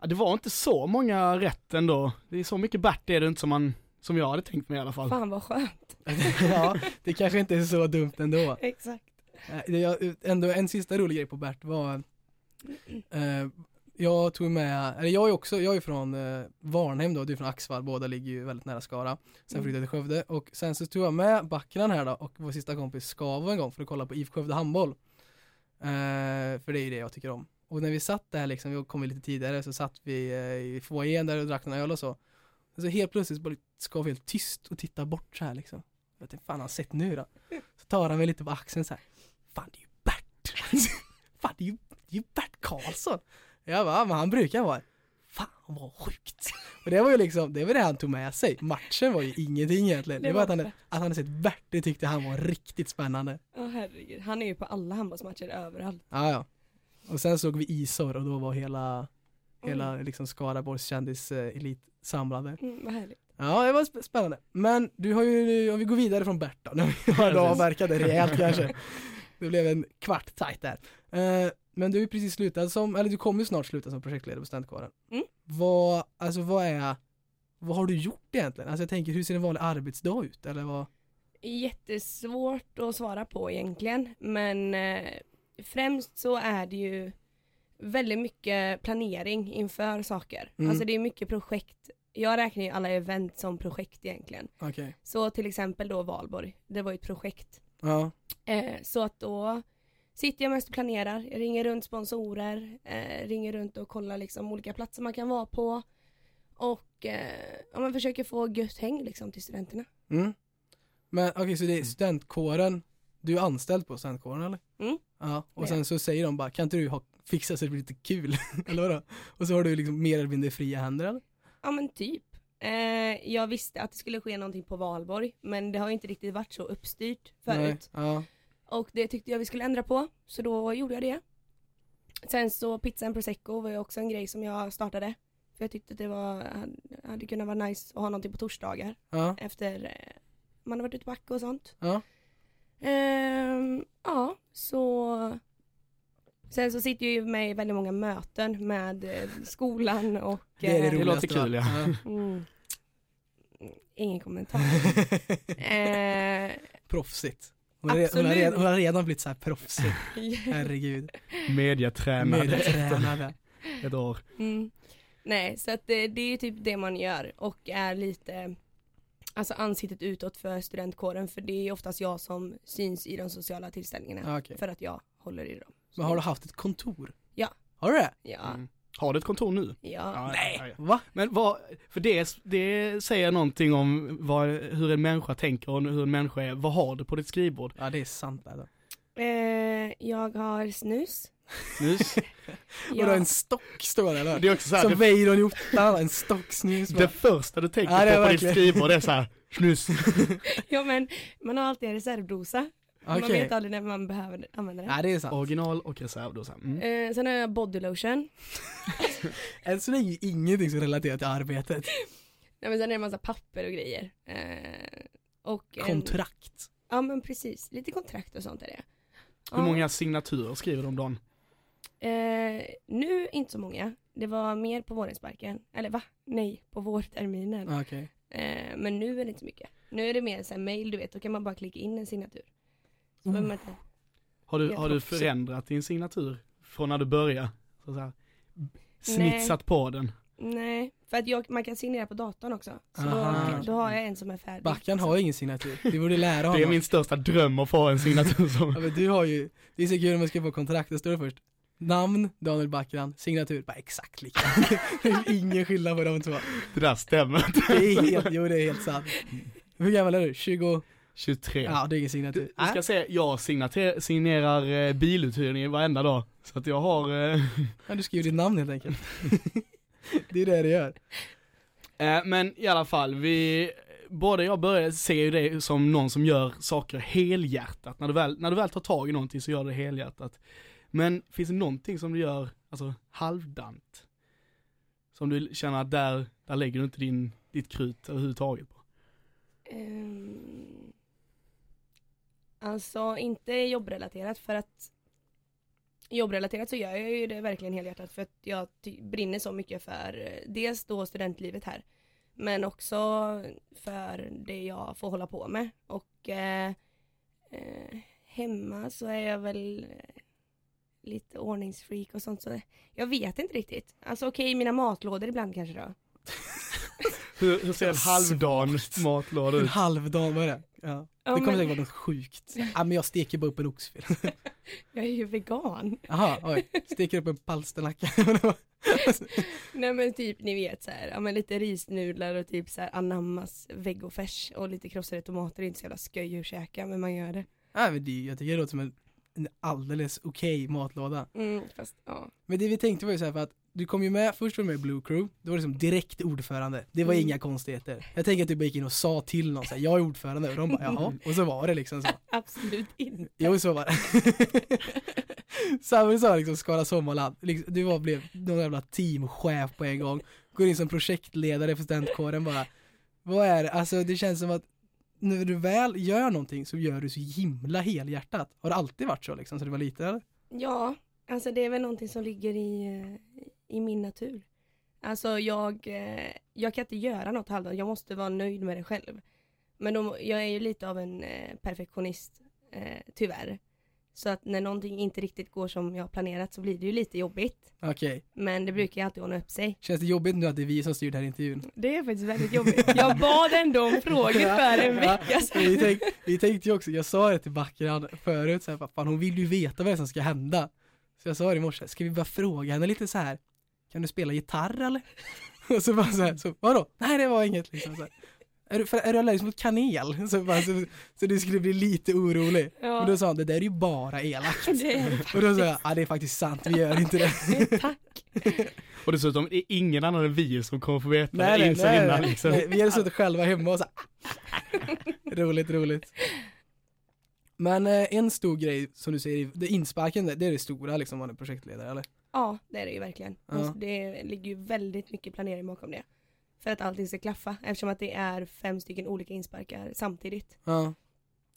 [SPEAKER 2] Ja, Det var inte så många rätt ändå. Det är så mycket Bert är det inte som man, som jag hade tänkt mig i alla fall.
[SPEAKER 3] Fan vad skönt.
[SPEAKER 1] ja, det kanske inte är så dumt ändå.
[SPEAKER 3] Exakt.
[SPEAKER 1] Eh, det- Jag, ändå en sista rolig grej på Bert var
[SPEAKER 3] Mm,
[SPEAKER 1] eh, Jag tog med, eller jag är också, jag är från eh, Varnhem då, du är från Axvall, båda ligger ju väldigt nära Skara. Sen
[SPEAKER 3] Mm.
[SPEAKER 1] flyttade jag till Skövde och sen så tog jag med Backran här då och vår sista kompis Skavo en gång för att kolla på IFK Skövde handboll. Eh, för det är ju det jag tycker om. Och när vi satt där liksom, vi kom lite tidigare, så satt vi eh, i foajén där och drack några öl och så. Och så helt plötsligt bara Skavo helt tyst och tittar bort så här liksom. Jag tänkte, fan har han sett nu då? Så tar han mig lite på axeln så här. Fan det är ju Bert! fan det är ju, det är ju Bert Karlsson! Jag bara, "Ja, men han brukar vara här." Fan vad sjukt! Och det var ju liksom, det var det han tog med sig. Matchen var ju ingenting egentligen.
[SPEAKER 3] Det
[SPEAKER 1] Det, var
[SPEAKER 3] var
[SPEAKER 1] att han,
[SPEAKER 3] det.
[SPEAKER 1] att han hade sett Bert, det tyckte han var riktigt spännande.
[SPEAKER 3] Ja herregud, han är ju på alla handbollsmatcher överallt.
[SPEAKER 1] Ja, ja. Och sen såg vi Isor och då var hela, hela liksom Skaraborgs kändiselit samlade.
[SPEAKER 3] Mm, vad härligt.
[SPEAKER 1] Ja, det var sp- spännande. Men du har ju, om vi går vidare från Bert då, när vi har
[SPEAKER 2] Precis.
[SPEAKER 1] avverkat det rejält kanske. Det blev en kvart tajt där. Eh, men du är ju precis slutad som, eller du kommer ju snart sluta som projektledare på studentkåren.
[SPEAKER 3] Mm.
[SPEAKER 1] Vad, alltså vad är, vad har du gjort egentligen? Alltså jag tänker, hur ser en vanlig arbetsdag ut? Eller vad?
[SPEAKER 3] Jättesvårt att svara på egentligen men eh, främst så är det ju väldigt mycket planering inför saker.
[SPEAKER 1] Mm.
[SPEAKER 3] Alltså det är mycket projekt. Jag räknar ju alla event som projekt egentligen.
[SPEAKER 1] Okej.
[SPEAKER 3] Så till exempel då Valborg, det var ju ett projekt.
[SPEAKER 1] Ja.
[SPEAKER 3] Eh, så att då sitter jag mest och planerar, jag ringer runt sponsorer, eh, ringer runt och kollar liksom olika platser man kan vara på. Och eh, ja, man försöker få gött häng liksom till studenterna.
[SPEAKER 1] Mm. Men okej, så det är studentkåren, du är anställd på studentkåren eller?
[SPEAKER 3] Mm.
[SPEAKER 1] Ja, och
[SPEAKER 3] Det är
[SPEAKER 1] sen så säger de bara, kan inte du ha, fixa så det blir lite kul? eller vadå? Och så har du liksom mer eller mindre fria händer eller?
[SPEAKER 3] Ja men typ. Eh, jag visste att det skulle ske någonting på valborg men det har ju inte riktigt varit så uppstyrt förut.
[SPEAKER 1] Nej. Ja.
[SPEAKER 3] Och det tyckte jag vi skulle ändra på så då gjorde jag det. Sen så pizza and prosecco var ju också en grej som jag startade. För jag tyckte att det var, hade kunnat vara nice att ha någonting på torsdagar.
[SPEAKER 1] Ja.
[SPEAKER 3] efter eh, man har varit ute på Acke och sånt.
[SPEAKER 1] Ja.
[SPEAKER 3] Ehm, ja, så Sen så sitter jag ju med i väldigt många möten med eh, skolan och
[SPEAKER 1] Det är det
[SPEAKER 3] eh,
[SPEAKER 1] roligaste.
[SPEAKER 2] Det låter kul,
[SPEAKER 1] va?
[SPEAKER 2] ja.
[SPEAKER 3] Mm. Ingen kommentar.
[SPEAKER 1] Eh.
[SPEAKER 3] Ehm,
[SPEAKER 1] Proffsigt. Hon har, re- hon, har
[SPEAKER 3] Absolut.
[SPEAKER 1] redan, hon har redan blivit så här proffsig. Herregud.
[SPEAKER 2] Mediatränare
[SPEAKER 1] Medietränare.
[SPEAKER 2] ett år.
[SPEAKER 3] mm. Nej, så att det, det är ju typ det man gör och är lite Alltså ansiktet utåt för studentkåren för det är oftast jag som syns i de sociala tillställningarna
[SPEAKER 1] Ja, okej.
[SPEAKER 3] för att jag håller i dem.
[SPEAKER 1] Men har du haft ett kontor?
[SPEAKER 3] Ja.
[SPEAKER 1] Har du det?
[SPEAKER 3] Ja,
[SPEAKER 2] Mm. Har du ett kontor nu?
[SPEAKER 3] ja.
[SPEAKER 2] Nej.
[SPEAKER 1] Va?
[SPEAKER 2] Men vad, för det, det säger någonting om vad, hur en människa tänker och hur en människa är. Vad har du på ditt skrivbord?
[SPEAKER 1] Ja det är sant alltså.
[SPEAKER 3] Eh, jag har snus.
[SPEAKER 2] Snus?
[SPEAKER 1] Och
[SPEAKER 3] Jag,
[SPEAKER 1] du har en stock står det eller?
[SPEAKER 2] Det är också så här,
[SPEAKER 1] Som
[SPEAKER 2] det,
[SPEAKER 1] Weiron i ottan, en stocksnus.
[SPEAKER 2] det första du tänker
[SPEAKER 1] Ja, det är
[SPEAKER 2] på på ditt
[SPEAKER 1] verkligen.
[SPEAKER 2] skrivbord är så här, snus.
[SPEAKER 3] ja, men man har alltid en reservdosa. Man
[SPEAKER 1] Okej.
[SPEAKER 3] vet aldrig när man behöver använda den.
[SPEAKER 1] Ja det är sant.
[SPEAKER 2] Original och reservdosa. Mm.
[SPEAKER 3] Eh, sen har jag bodylotion.
[SPEAKER 1] Än så länge ingenting som relaterar till arbetet.
[SPEAKER 3] Nej, men sen är det en massa papper och grejer. Eh, och en-
[SPEAKER 1] Kontrakt.
[SPEAKER 3] Ja men precis, lite kontrakt och sånt är det.
[SPEAKER 2] Hur
[SPEAKER 3] Ja.
[SPEAKER 2] många signaturer skriver du om dagen?
[SPEAKER 3] Eh, nu inte så många. Det var mer på vårensparken. Eller va? Nej, på vårterminen.
[SPEAKER 1] Okej.
[SPEAKER 3] Eh, men nu är det inte så mycket. Nu är det mer så här mail du vet, då kan man bara klicka in en signatur. Så behöver man inte-
[SPEAKER 2] Har du,
[SPEAKER 3] Jag
[SPEAKER 2] har du
[SPEAKER 3] proffsar.
[SPEAKER 2] förändrat din signatur från när du började? Så så här, snitsat på den?
[SPEAKER 3] Nej, för att jag, man kan signera på datorn också. Så då,
[SPEAKER 1] Aha.
[SPEAKER 3] då har jag en som är färdig.
[SPEAKER 1] Backan har ingen signatur. Du borde lära honom.
[SPEAKER 2] Det är min största dröm att få en signatur
[SPEAKER 1] ja,
[SPEAKER 2] som...
[SPEAKER 1] men du har ju, det är så kul när man ska få kontrakt, då står det först namn, Daniel Backran, signatur, bara exakt lika. det är ingen skillnad på de två.
[SPEAKER 2] Det där stämmer inte.
[SPEAKER 1] Det är helt, jo det är helt sant. Hur gammal är du? 20?
[SPEAKER 2] 23.
[SPEAKER 1] Ja, det är ingen signatur.
[SPEAKER 2] Du ska se, jag signater- signerar eh, biluthyrning varenda dag. Så att jag har... Eh,
[SPEAKER 1] Ja, du skriver ditt namn helt enkelt. det är det du gör.
[SPEAKER 2] Eh, men i alla fall, vi... Både jag och började ser ju dig som någon som gör saker helhjärtat. När du, väl, när du väl tar tag i någonting så gör du det helhjärtat. Men finns det någonting som du gör, alltså halvdant? Som du känner att där, där lägger du inte din, ditt krut överhuvudtaget på?
[SPEAKER 3] Ehm, alltså inte jobbrelaterat för att jobbrelaterat så gör jag ju det verkligen helhjärtat för att jag ty- brinner så mycket för eh, dels då studentlivet här men också för det jag får hålla på med och eh, eh, hemma så är jag väl eh, lite ordningsfreak och sånt så jag vet inte riktigt. Alltså okej mina matlådor ibland kanske då.
[SPEAKER 2] Hur, hur ser en halvdan matlåda
[SPEAKER 1] En
[SPEAKER 2] ut?
[SPEAKER 1] halv dag, vad är det? Ja.
[SPEAKER 3] Ja,
[SPEAKER 1] det kommer
[SPEAKER 3] men-
[SPEAKER 1] säkert vara något sjukt. Ja men jag steker bara upp en oxfilé.
[SPEAKER 3] Jag är ju vegan.
[SPEAKER 1] Jaha, oj. Steker upp en palsternacka.
[SPEAKER 3] Nej men typ ni vet så här, ja men lite risnudlar och typ så här anammas vegofärs och lite krossade tomater, det är inte så jävla sköj att käka men man gör det.
[SPEAKER 1] ja, men det, jag tycker det låter som en, en alldeles okej matlåda.
[SPEAKER 3] Mm, fast ja.
[SPEAKER 1] Men det vi tänkte var ju så här för att du kom ju med, först var du med i Blue Crew, då var du liksom direkt ordförande. Det var
[SPEAKER 3] Mm.
[SPEAKER 1] inga konstigheter. Jag tänker att du bara gick in och sa till någon så här, jag är ordförande och de bara jaha. Och så var det liksom så.
[SPEAKER 3] Absolut inte.
[SPEAKER 1] Jo så var det. Samtidigt sa liksom Skara Sommarland, liksom, du var, blev någon jävla teamchef på en gång. Går in som projektledare för studentkåren bara. Vad är det, alltså det känns som att när du väl gör någonting så gör du så himla helhjärtat. Har det alltid varit så liksom, så du var liten eller?
[SPEAKER 3] Ja, alltså det är väl någonting som ligger i, eh, i min natur. Alltså jag, eh, jag kan inte göra något halvdant, jag måste vara nöjd med det själv. Men då, jag är ju lite av en eh, perfektionist, eh, tyvärr. Så att när någonting inte riktigt går som jag har planerat så blir det ju lite jobbigt.
[SPEAKER 1] Okej,
[SPEAKER 3] Men det brukar ju alltid ordna upp sig.
[SPEAKER 1] känns det jobbigt nu att det är vi som styr den här intervjun?
[SPEAKER 3] Det är faktiskt väldigt jobbigt. Jag bad ändå om frågor för en vecka
[SPEAKER 1] Vi,
[SPEAKER 3] sedan.
[SPEAKER 1] tänk, vi tänkte ju också, jag sa det till Backran förut, så här, fan hon vill ju veta vad det är som ska hända. Så jag sa det i morse, ska vi bara fråga henne lite så här, kan du spela gitarr eller? Och så bara så här, så, vadå? Nej det var inget liksom. Så här. Är du, för, är du allergisk mot kanel? Så, bara, så, så du skulle bli lite orolig. Och
[SPEAKER 3] Ja,
[SPEAKER 1] då sa han, det där är ju bara elakt.
[SPEAKER 3] det är
[SPEAKER 1] Och då sa jag, ja det är faktiskt sant, vi gör inte det.
[SPEAKER 3] Tack.
[SPEAKER 2] Och dessutom, det är ingen annan än vi som kommer få veta det innan innan, liksom.
[SPEAKER 1] nej, vi hade suttit själva hemma och så här. Roligt, roligt. Men eh, en stor grej som du säger, det insparken, det det är det stora liksom, man är projektledare eller?
[SPEAKER 3] Ja, det är det ju verkligen.
[SPEAKER 1] Ja.
[SPEAKER 3] Och Det ligger ju väldigt mycket planering bakom det. För att allting ska klaffa eftersom att det är fem stycken olika insparkar samtidigt.
[SPEAKER 1] Ja,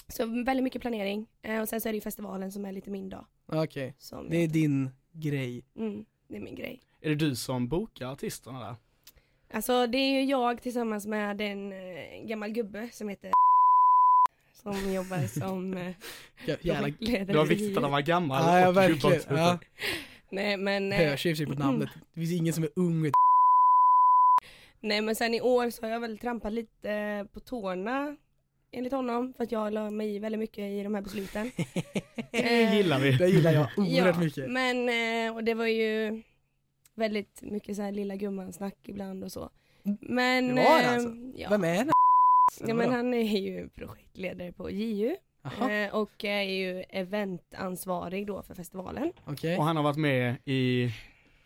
[SPEAKER 3] Så väldigt mycket planering. Eh, Och sen så är det ju festivalen som är lite min dag.
[SPEAKER 1] ja, okej.
[SPEAKER 3] Som
[SPEAKER 1] Det är din grej.
[SPEAKER 3] mm, det är min grej.
[SPEAKER 2] Är det du som bokar artisterna där?
[SPEAKER 3] Alltså det är ju jag tillsammans med en eh, gammal gubbe som heter som jobbar som eh,
[SPEAKER 1] Jä- Jävla...
[SPEAKER 3] projektledare.
[SPEAKER 2] Det var
[SPEAKER 3] i-
[SPEAKER 2] viktigt att han var gammal.
[SPEAKER 1] Ja, ja
[SPEAKER 2] och
[SPEAKER 1] verkligen.
[SPEAKER 2] jobbar-
[SPEAKER 1] Ja,
[SPEAKER 3] Nej men, eh,
[SPEAKER 1] hörs i och för sig på namnet. Det finns ingen som är ung och
[SPEAKER 3] nej men sen i år så har jag väl trampat lite eh, på tårna enligt honom för att jag la mig i väldigt mycket i de här besluten.
[SPEAKER 2] Det gillar vi.
[SPEAKER 1] Det gillar jag oerhört
[SPEAKER 3] ja,
[SPEAKER 1] mycket.
[SPEAKER 3] Men eh, och det var ju väldigt mycket så här lilla gumman snack ibland och så. Men,
[SPEAKER 1] Det var det
[SPEAKER 3] eh,
[SPEAKER 1] alltså.
[SPEAKER 3] ja.
[SPEAKER 1] Vem är den
[SPEAKER 3] ja men han är ju projektledare på JU
[SPEAKER 1] Jaha,
[SPEAKER 3] eh, och är ju eventansvarig då för festivalen.
[SPEAKER 1] okej.
[SPEAKER 2] Och han har varit med i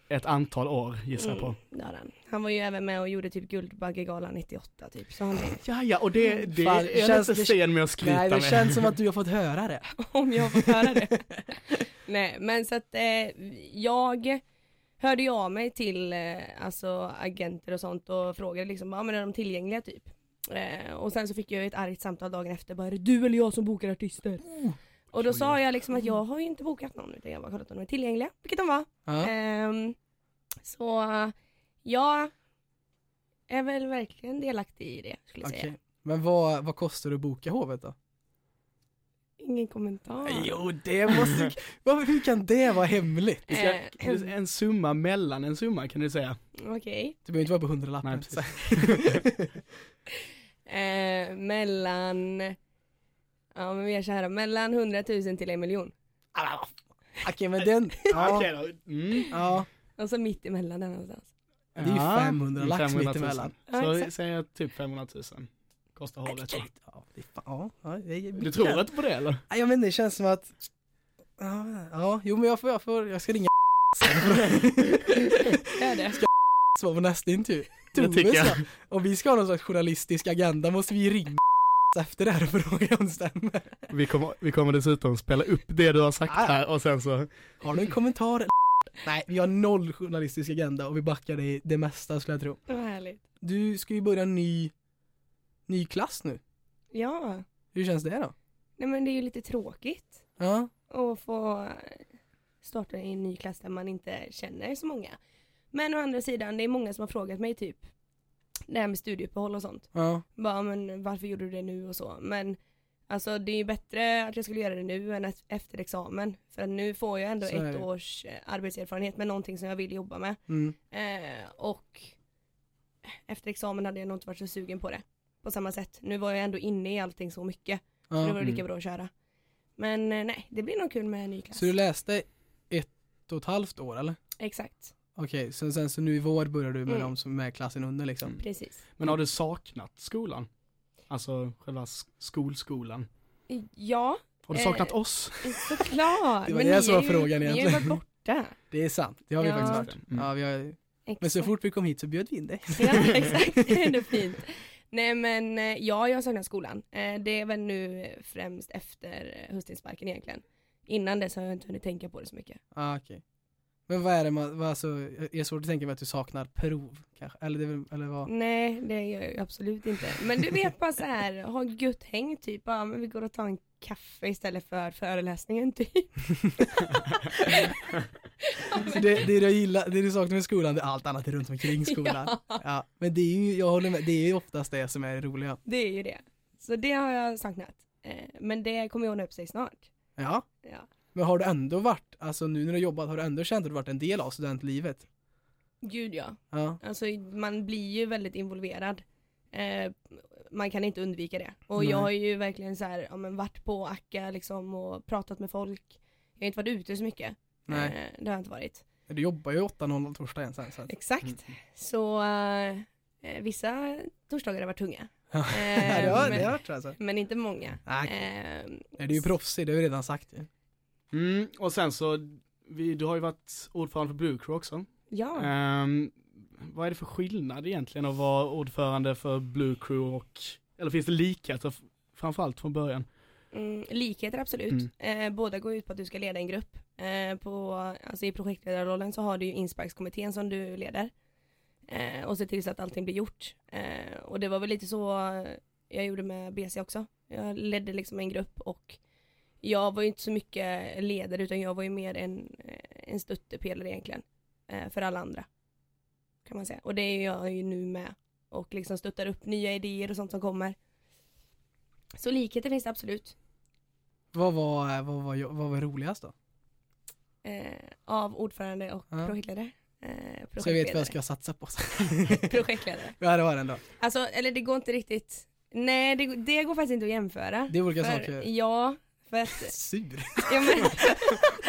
[SPEAKER 2] ett antal år gissar jag
[SPEAKER 3] Mm,
[SPEAKER 2] på.
[SPEAKER 3] det har han. han var ju även med och gjorde typ Guldbaggegalan 98 typ så han är
[SPEAKER 2] Ja, ja, och det, det
[SPEAKER 1] Fan,
[SPEAKER 2] är jag
[SPEAKER 1] känns-
[SPEAKER 2] inte
[SPEAKER 1] det-
[SPEAKER 2] sen med att skryta
[SPEAKER 1] Nej, det
[SPEAKER 2] med.
[SPEAKER 1] känns som att du har fått höra det.
[SPEAKER 3] om jag får höra det. Nej men så att eh, jag hörde ju av mig till eh, alltså agenter och sånt och frågade liksom, ja men är de tillgängliga typ? Eh, och sen så fick jag ju ett argt samtal dagen efter, bara är det du eller jag som bokar artister?
[SPEAKER 1] Oh.
[SPEAKER 3] Och då sa jag liksom att jag har ju inte bokat någon utan jag har bara kollat om de är tillgängliga, vilket de var.
[SPEAKER 1] Ja.
[SPEAKER 3] Ehm, så jag är väl verkligen delaktig i det skulle jag säga.
[SPEAKER 1] Okej. Men vad, vad kostar det att boka hovet då?
[SPEAKER 3] Ingen kommentar. Eh,
[SPEAKER 1] Jo, det måste... Varför, hur kan det vara hemligt?
[SPEAKER 2] Vi ska, en summa mellan en summa kan du säga.
[SPEAKER 3] Okej.
[SPEAKER 1] Det behöver inte vara på hundralappen.
[SPEAKER 2] Nej, precis.
[SPEAKER 1] Så-
[SPEAKER 3] Eh, mellan... Ja men vi gör så här då. Mellan 100 000 till en miljon.
[SPEAKER 1] Okej, men den...
[SPEAKER 2] Ja.
[SPEAKER 1] Ja,
[SPEAKER 2] Okej då. Mm.
[SPEAKER 1] ja,
[SPEAKER 3] Och så Alltså mitt emellan där någonstans.
[SPEAKER 1] Det är ju 500 lax
[SPEAKER 2] 500 000.
[SPEAKER 1] mittemellan.
[SPEAKER 3] Ja,
[SPEAKER 2] Så
[SPEAKER 3] exakt.
[SPEAKER 2] säger jag typ 500 000. Kostar håret.
[SPEAKER 1] ja, det är fan- ja, ja, det är
[SPEAKER 2] Du tror inte på det eller?
[SPEAKER 1] Ja, Jag vet inte, det känns som att... Ja, ja jo men jag får, jag får, jag ska ringa
[SPEAKER 3] Gör det.
[SPEAKER 1] svar på nästa intervju.
[SPEAKER 2] Det
[SPEAKER 1] Tove
[SPEAKER 2] tycker jag.
[SPEAKER 1] sa, Om vi ska ha någon slags journalistisk agenda måste vi ringa efter det här och fråga om det stämmer.
[SPEAKER 2] Vi kommer, vi kommer dessutom spela upp det du har sagt
[SPEAKER 1] Ah.
[SPEAKER 2] här och sen så
[SPEAKER 1] Har du en kommentar? Nej, vi har noll journalistisk agenda och vi backar dig det mesta skulle jag tro.
[SPEAKER 3] Vad härligt.
[SPEAKER 1] Du ska ju börja en ny, ny klass nu.
[SPEAKER 3] Ja.
[SPEAKER 1] Hur känns det då?
[SPEAKER 3] Nej men det är ju lite tråkigt
[SPEAKER 1] Ja,
[SPEAKER 3] att få starta i en ny klass där man inte känner så många. Men å andra sidan, det är många som har frågat mig typ det här med studieuppehåll och sånt.
[SPEAKER 1] ja,
[SPEAKER 3] Bara, men varför gjorde du det nu och så. Men alltså det är ju bättre att jag skulle göra det nu än att- efter examen. För att nu får jag ändå
[SPEAKER 1] Så är
[SPEAKER 3] ett
[SPEAKER 1] det.
[SPEAKER 3] års eh, arbetserfarenhet med någonting som jag vill jobba med.
[SPEAKER 1] mm,
[SPEAKER 3] Eh, och efter examen hade jag nog inte varit så sugen på det. På samma sätt. Nu var jag ändå inne i allting så mycket. Så det
[SPEAKER 1] ja.
[SPEAKER 3] var lika
[SPEAKER 2] Mm.
[SPEAKER 3] bra att köra. Men eh, nej, det blir nog kul med en ny klass.
[SPEAKER 1] Så du läste ett och ett halvt år eller?
[SPEAKER 3] Exakt,
[SPEAKER 1] Okej, så, sen så nu i vår börjar du med
[SPEAKER 3] Mm.
[SPEAKER 1] de som är klassen under liksom?
[SPEAKER 2] Mm.
[SPEAKER 3] precis.
[SPEAKER 2] Men har du saknat skolan? Alltså själva sk- skolskolan?
[SPEAKER 3] Ja,
[SPEAKER 2] Har du
[SPEAKER 3] Eh,
[SPEAKER 2] saknat oss?
[SPEAKER 3] såklart.
[SPEAKER 1] Det var
[SPEAKER 3] Men
[SPEAKER 1] det
[SPEAKER 3] ni
[SPEAKER 1] som
[SPEAKER 3] är
[SPEAKER 1] var
[SPEAKER 3] ju-
[SPEAKER 1] frågan
[SPEAKER 3] Ni har ju
[SPEAKER 1] egentligen.
[SPEAKER 3] varit borta.
[SPEAKER 1] Det är sant, det har vi
[SPEAKER 3] Ja.
[SPEAKER 1] faktiskt varit.
[SPEAKER 2] Mm.
[SPEAKER 1] Ja, vi har,
[SPEAKER 3] Exakt.
[SPEAKER 1] men så fort vi kom hit så bjöd vi in dig.
[SPEAKER 3] Ja, exakt. Det är ändå fint. Nej men eh, ja, jag saknar skolan. Eh, Det är väl nu eh, främst efter eh, höstinsparken egentligen. Innan dess har jag inte hunnit tänka på det så mycket.
[SPEAKER 1] Ah, okej. Men vad är det man, vad alltså, jag är svårt att tänka mig att du saknar prov kanske, eller, det, är väl- eller vad?
[SPEAKER 3] Nej, det gör jag ju absolut inte. Men du vet bara så här, ha gött häng typ. Ja, men vi går och tar en kaffe istället för föreläsningen typ.
[SPEAKER 1] Så det, det du gillar, det du saknar med skolan, det är allt annat runt omkring skolan. Ja. men det är ju, jag håller med, det är ju oftast det som är det roliga.
[SPEAKER 3] Det är ju det. Så det har jag saknat. Eh, Men det kommer ju ordna upp sig snart.
[SPEAKER 1] Ja.
[SPEAKER 3] Ja.
[SPEAKER 1] Men har du ändå varit, alltså nu när du har jobbat, har du ändå känt att du varit en del av studentlivet?
[SPEAKER 3] Gud ja.
[SPEAKER 1] Ja.
[SPEAKER 3] Alltså man blir ju väldigt involverad. Eh, man kan inte undvika det. Och
[SPEAKER 1] Nej.
[SPEAKER 3] jag har ju verkligen så här, ja, men varit på Acka liksom och pratat med folk. Jag har inte varit ute så mycket.
[SPEAKER 1] Nej. Eh,
[SPEAKER 3] Eh, det har jag inte varit.
[SPEAKER 1] Du jobbar ju 8.00 torsdag igen sen så att,
[SPEAKER 3] Exakt. Så eh, vissa torsdagar har varit tunga.
[SPEAKER 1] Ja.
[SPEAKER 3] Eh,
[SPEAKER 1] det har, det har
[SPEAKER 3] men,
[SPEAKER 1] jag hört alltså.
[SPEAKER 3] men inte många.
[SPEAKER 1] Nej,
[SPEAKER 3] Eh,
[SPEAKER 1] nej, du är ju proffsig, det har vi redan sagt ju.
[SPEAKER 2] Mm, och sen så, vi, du har ju varit ordförande för Blue Crew också.
[SPEAKER 3] ja.
[SPEAKER 2] Ehm, vad är det för skillnad egentligen att vara ordförande för Blue Crew och, eller finns det likheter f- framförallt från början?
[SPEAKER 3] Mm, likheter absolut. Eh, båda går ut på att du ska leda en grupp. Eh, på, alltså I projektledarrollen så har du ju insparkskommittén som du leder. Eh, och ser till så att allting blir gjort. Eh, och det var väl lite så jag gjorde med BC också. Jag ledde liksom en grupp och jag var ju inte så mycket ledare utan jag var ju mer en, eh, en stöttepelare egentligen. Eh, för alla andra. Kan man säga. Och det är jag ju nu med. Och liksom stöttar upp nya idéer och sånt som kommer. Så likheter finns det absolut.
[SPEAKER 1] Vad var, vad var, vad var roligast då?
[SPEAKER 3] eh, av ordförande och
[SPEAKER 1] Ja.
[SPEAKER 3] projektledare. Eh, projektledare.
[SPEAKER 1] Så jag vet vad jag ska satsa på.
[SPEAKER 3] projektledare.
[SPEAKER 1] ja det var den då.
[SPEAKER 3] Alltså, eller det går inte riktigt. Nej, det, det går faktiskt inte att jämföra.
[SPEAKER 1] Det är olika
[SPEAKER 3] för,
[SPEAKER 1] saker.
[SPEAKER 3] Ja, för att,
[SPEAKER 1] Sur.
[SPEAKER 3] ja men,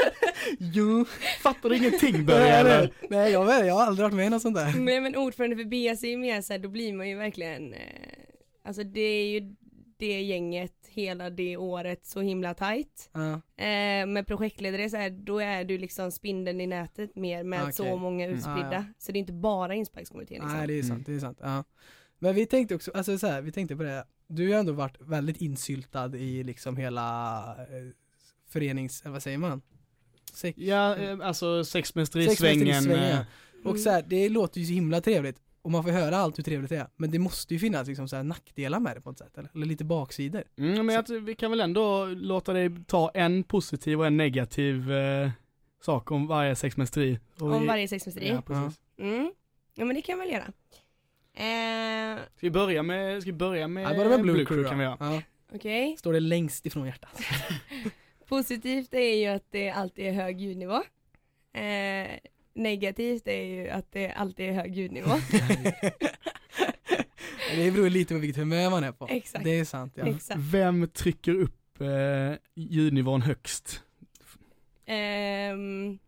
[SPEAKER 1] Jo.
[SPEAKER 2] Fattar du ingenting Börje
[SPEAKER 1] Nej,
[SPEAKER 2] eller?
[SPEAKER 1] nej, nej jag, vet, jag har aldrig varit med i något sånt där.
[SPEAKER 3] nej, men ordförande för BC är ju mer så här, då blir man ju verkligen, eh, alltså det är ju det gänget hela det året så himla tajt.
[SPEAKER 1] Ja,
[SPEAKER 3] Eh, med projektledare så här, då är du liksom spindeln i nätet mer med
[SPEAKER 1] Ah, Okej. Ah,
[SPEAKER 3] så många
[SPEAKER 2] Mm.
[SPEAKER 3] utspridda.
[SPEAKER 1] Ja, ja.
[SPEAKER 3] Så det är inte bara insparkskommittén liksom.
[SPEAKER 1] nej det är
[SPEAKER 2] Mm.
[SPEAKER 1] sant, det är sant. Ja. Men vi tänkte också, alltså så här, vi tänkte på det, här. du har ju ändå varit väldigt insyltad i liksom hela eh, förenings, eh, vad säger man? Sek-
[SPEAKER 2] Ja, eh, alltså sexmästerisvängen.
[SPEAKER 1] Sexmästerisvängen.
[SPEAKER 2] eh,
[SPEAKER 1] ja. Och så här, det låter ju så himla trevligt och man får höra allt hur trevligt det är. Men det måste ju finnas liksom så här nackdelar med det på något sätt, eller, eller lite baksidor.
[SPEAKER 2] Mm, men jag, tror- vi kan väl ändå låta dig ta en positiv och en negativ eh, sak om varje sexmästeri. Och
[SPEAKER 3] Om
[SPEAKER 2] vi-
[SPEAKER 3] varje sexmästeri.
[SPEAKER 2] Ja, precis.
[SPEAKER 3] Mm. Ja men det kan jag väl göra. Eh,
[SPEAKER 2] Ska vi börja med, ska vi börja med,
[SPEAKER 1] Ja, bara med Blue, Crew
[SPEAKER 2] kan vi göra.
[SPEAKER 1] Ja.
[SPEAKER 3] Okej.
[SPEAKER 1] Står det längst ifrån hjärtat.
[SPEAKER 3] Positivt är ju att det alltid är hög ljudnivå. Eh, negativt är ju att det alltid är hög ljudnivå.
[SPEAKER 1] Det beror lite på vilket humör man är på.
[SPEAKER 3] Exakt.
[SPEAKER 1] Det är sant ja.
[SPEAKER 3] Exakt.
[SPEAKER 2] Vem trycker upp eh, ljudnivån högst?
[SPEAKER 3] Ehm,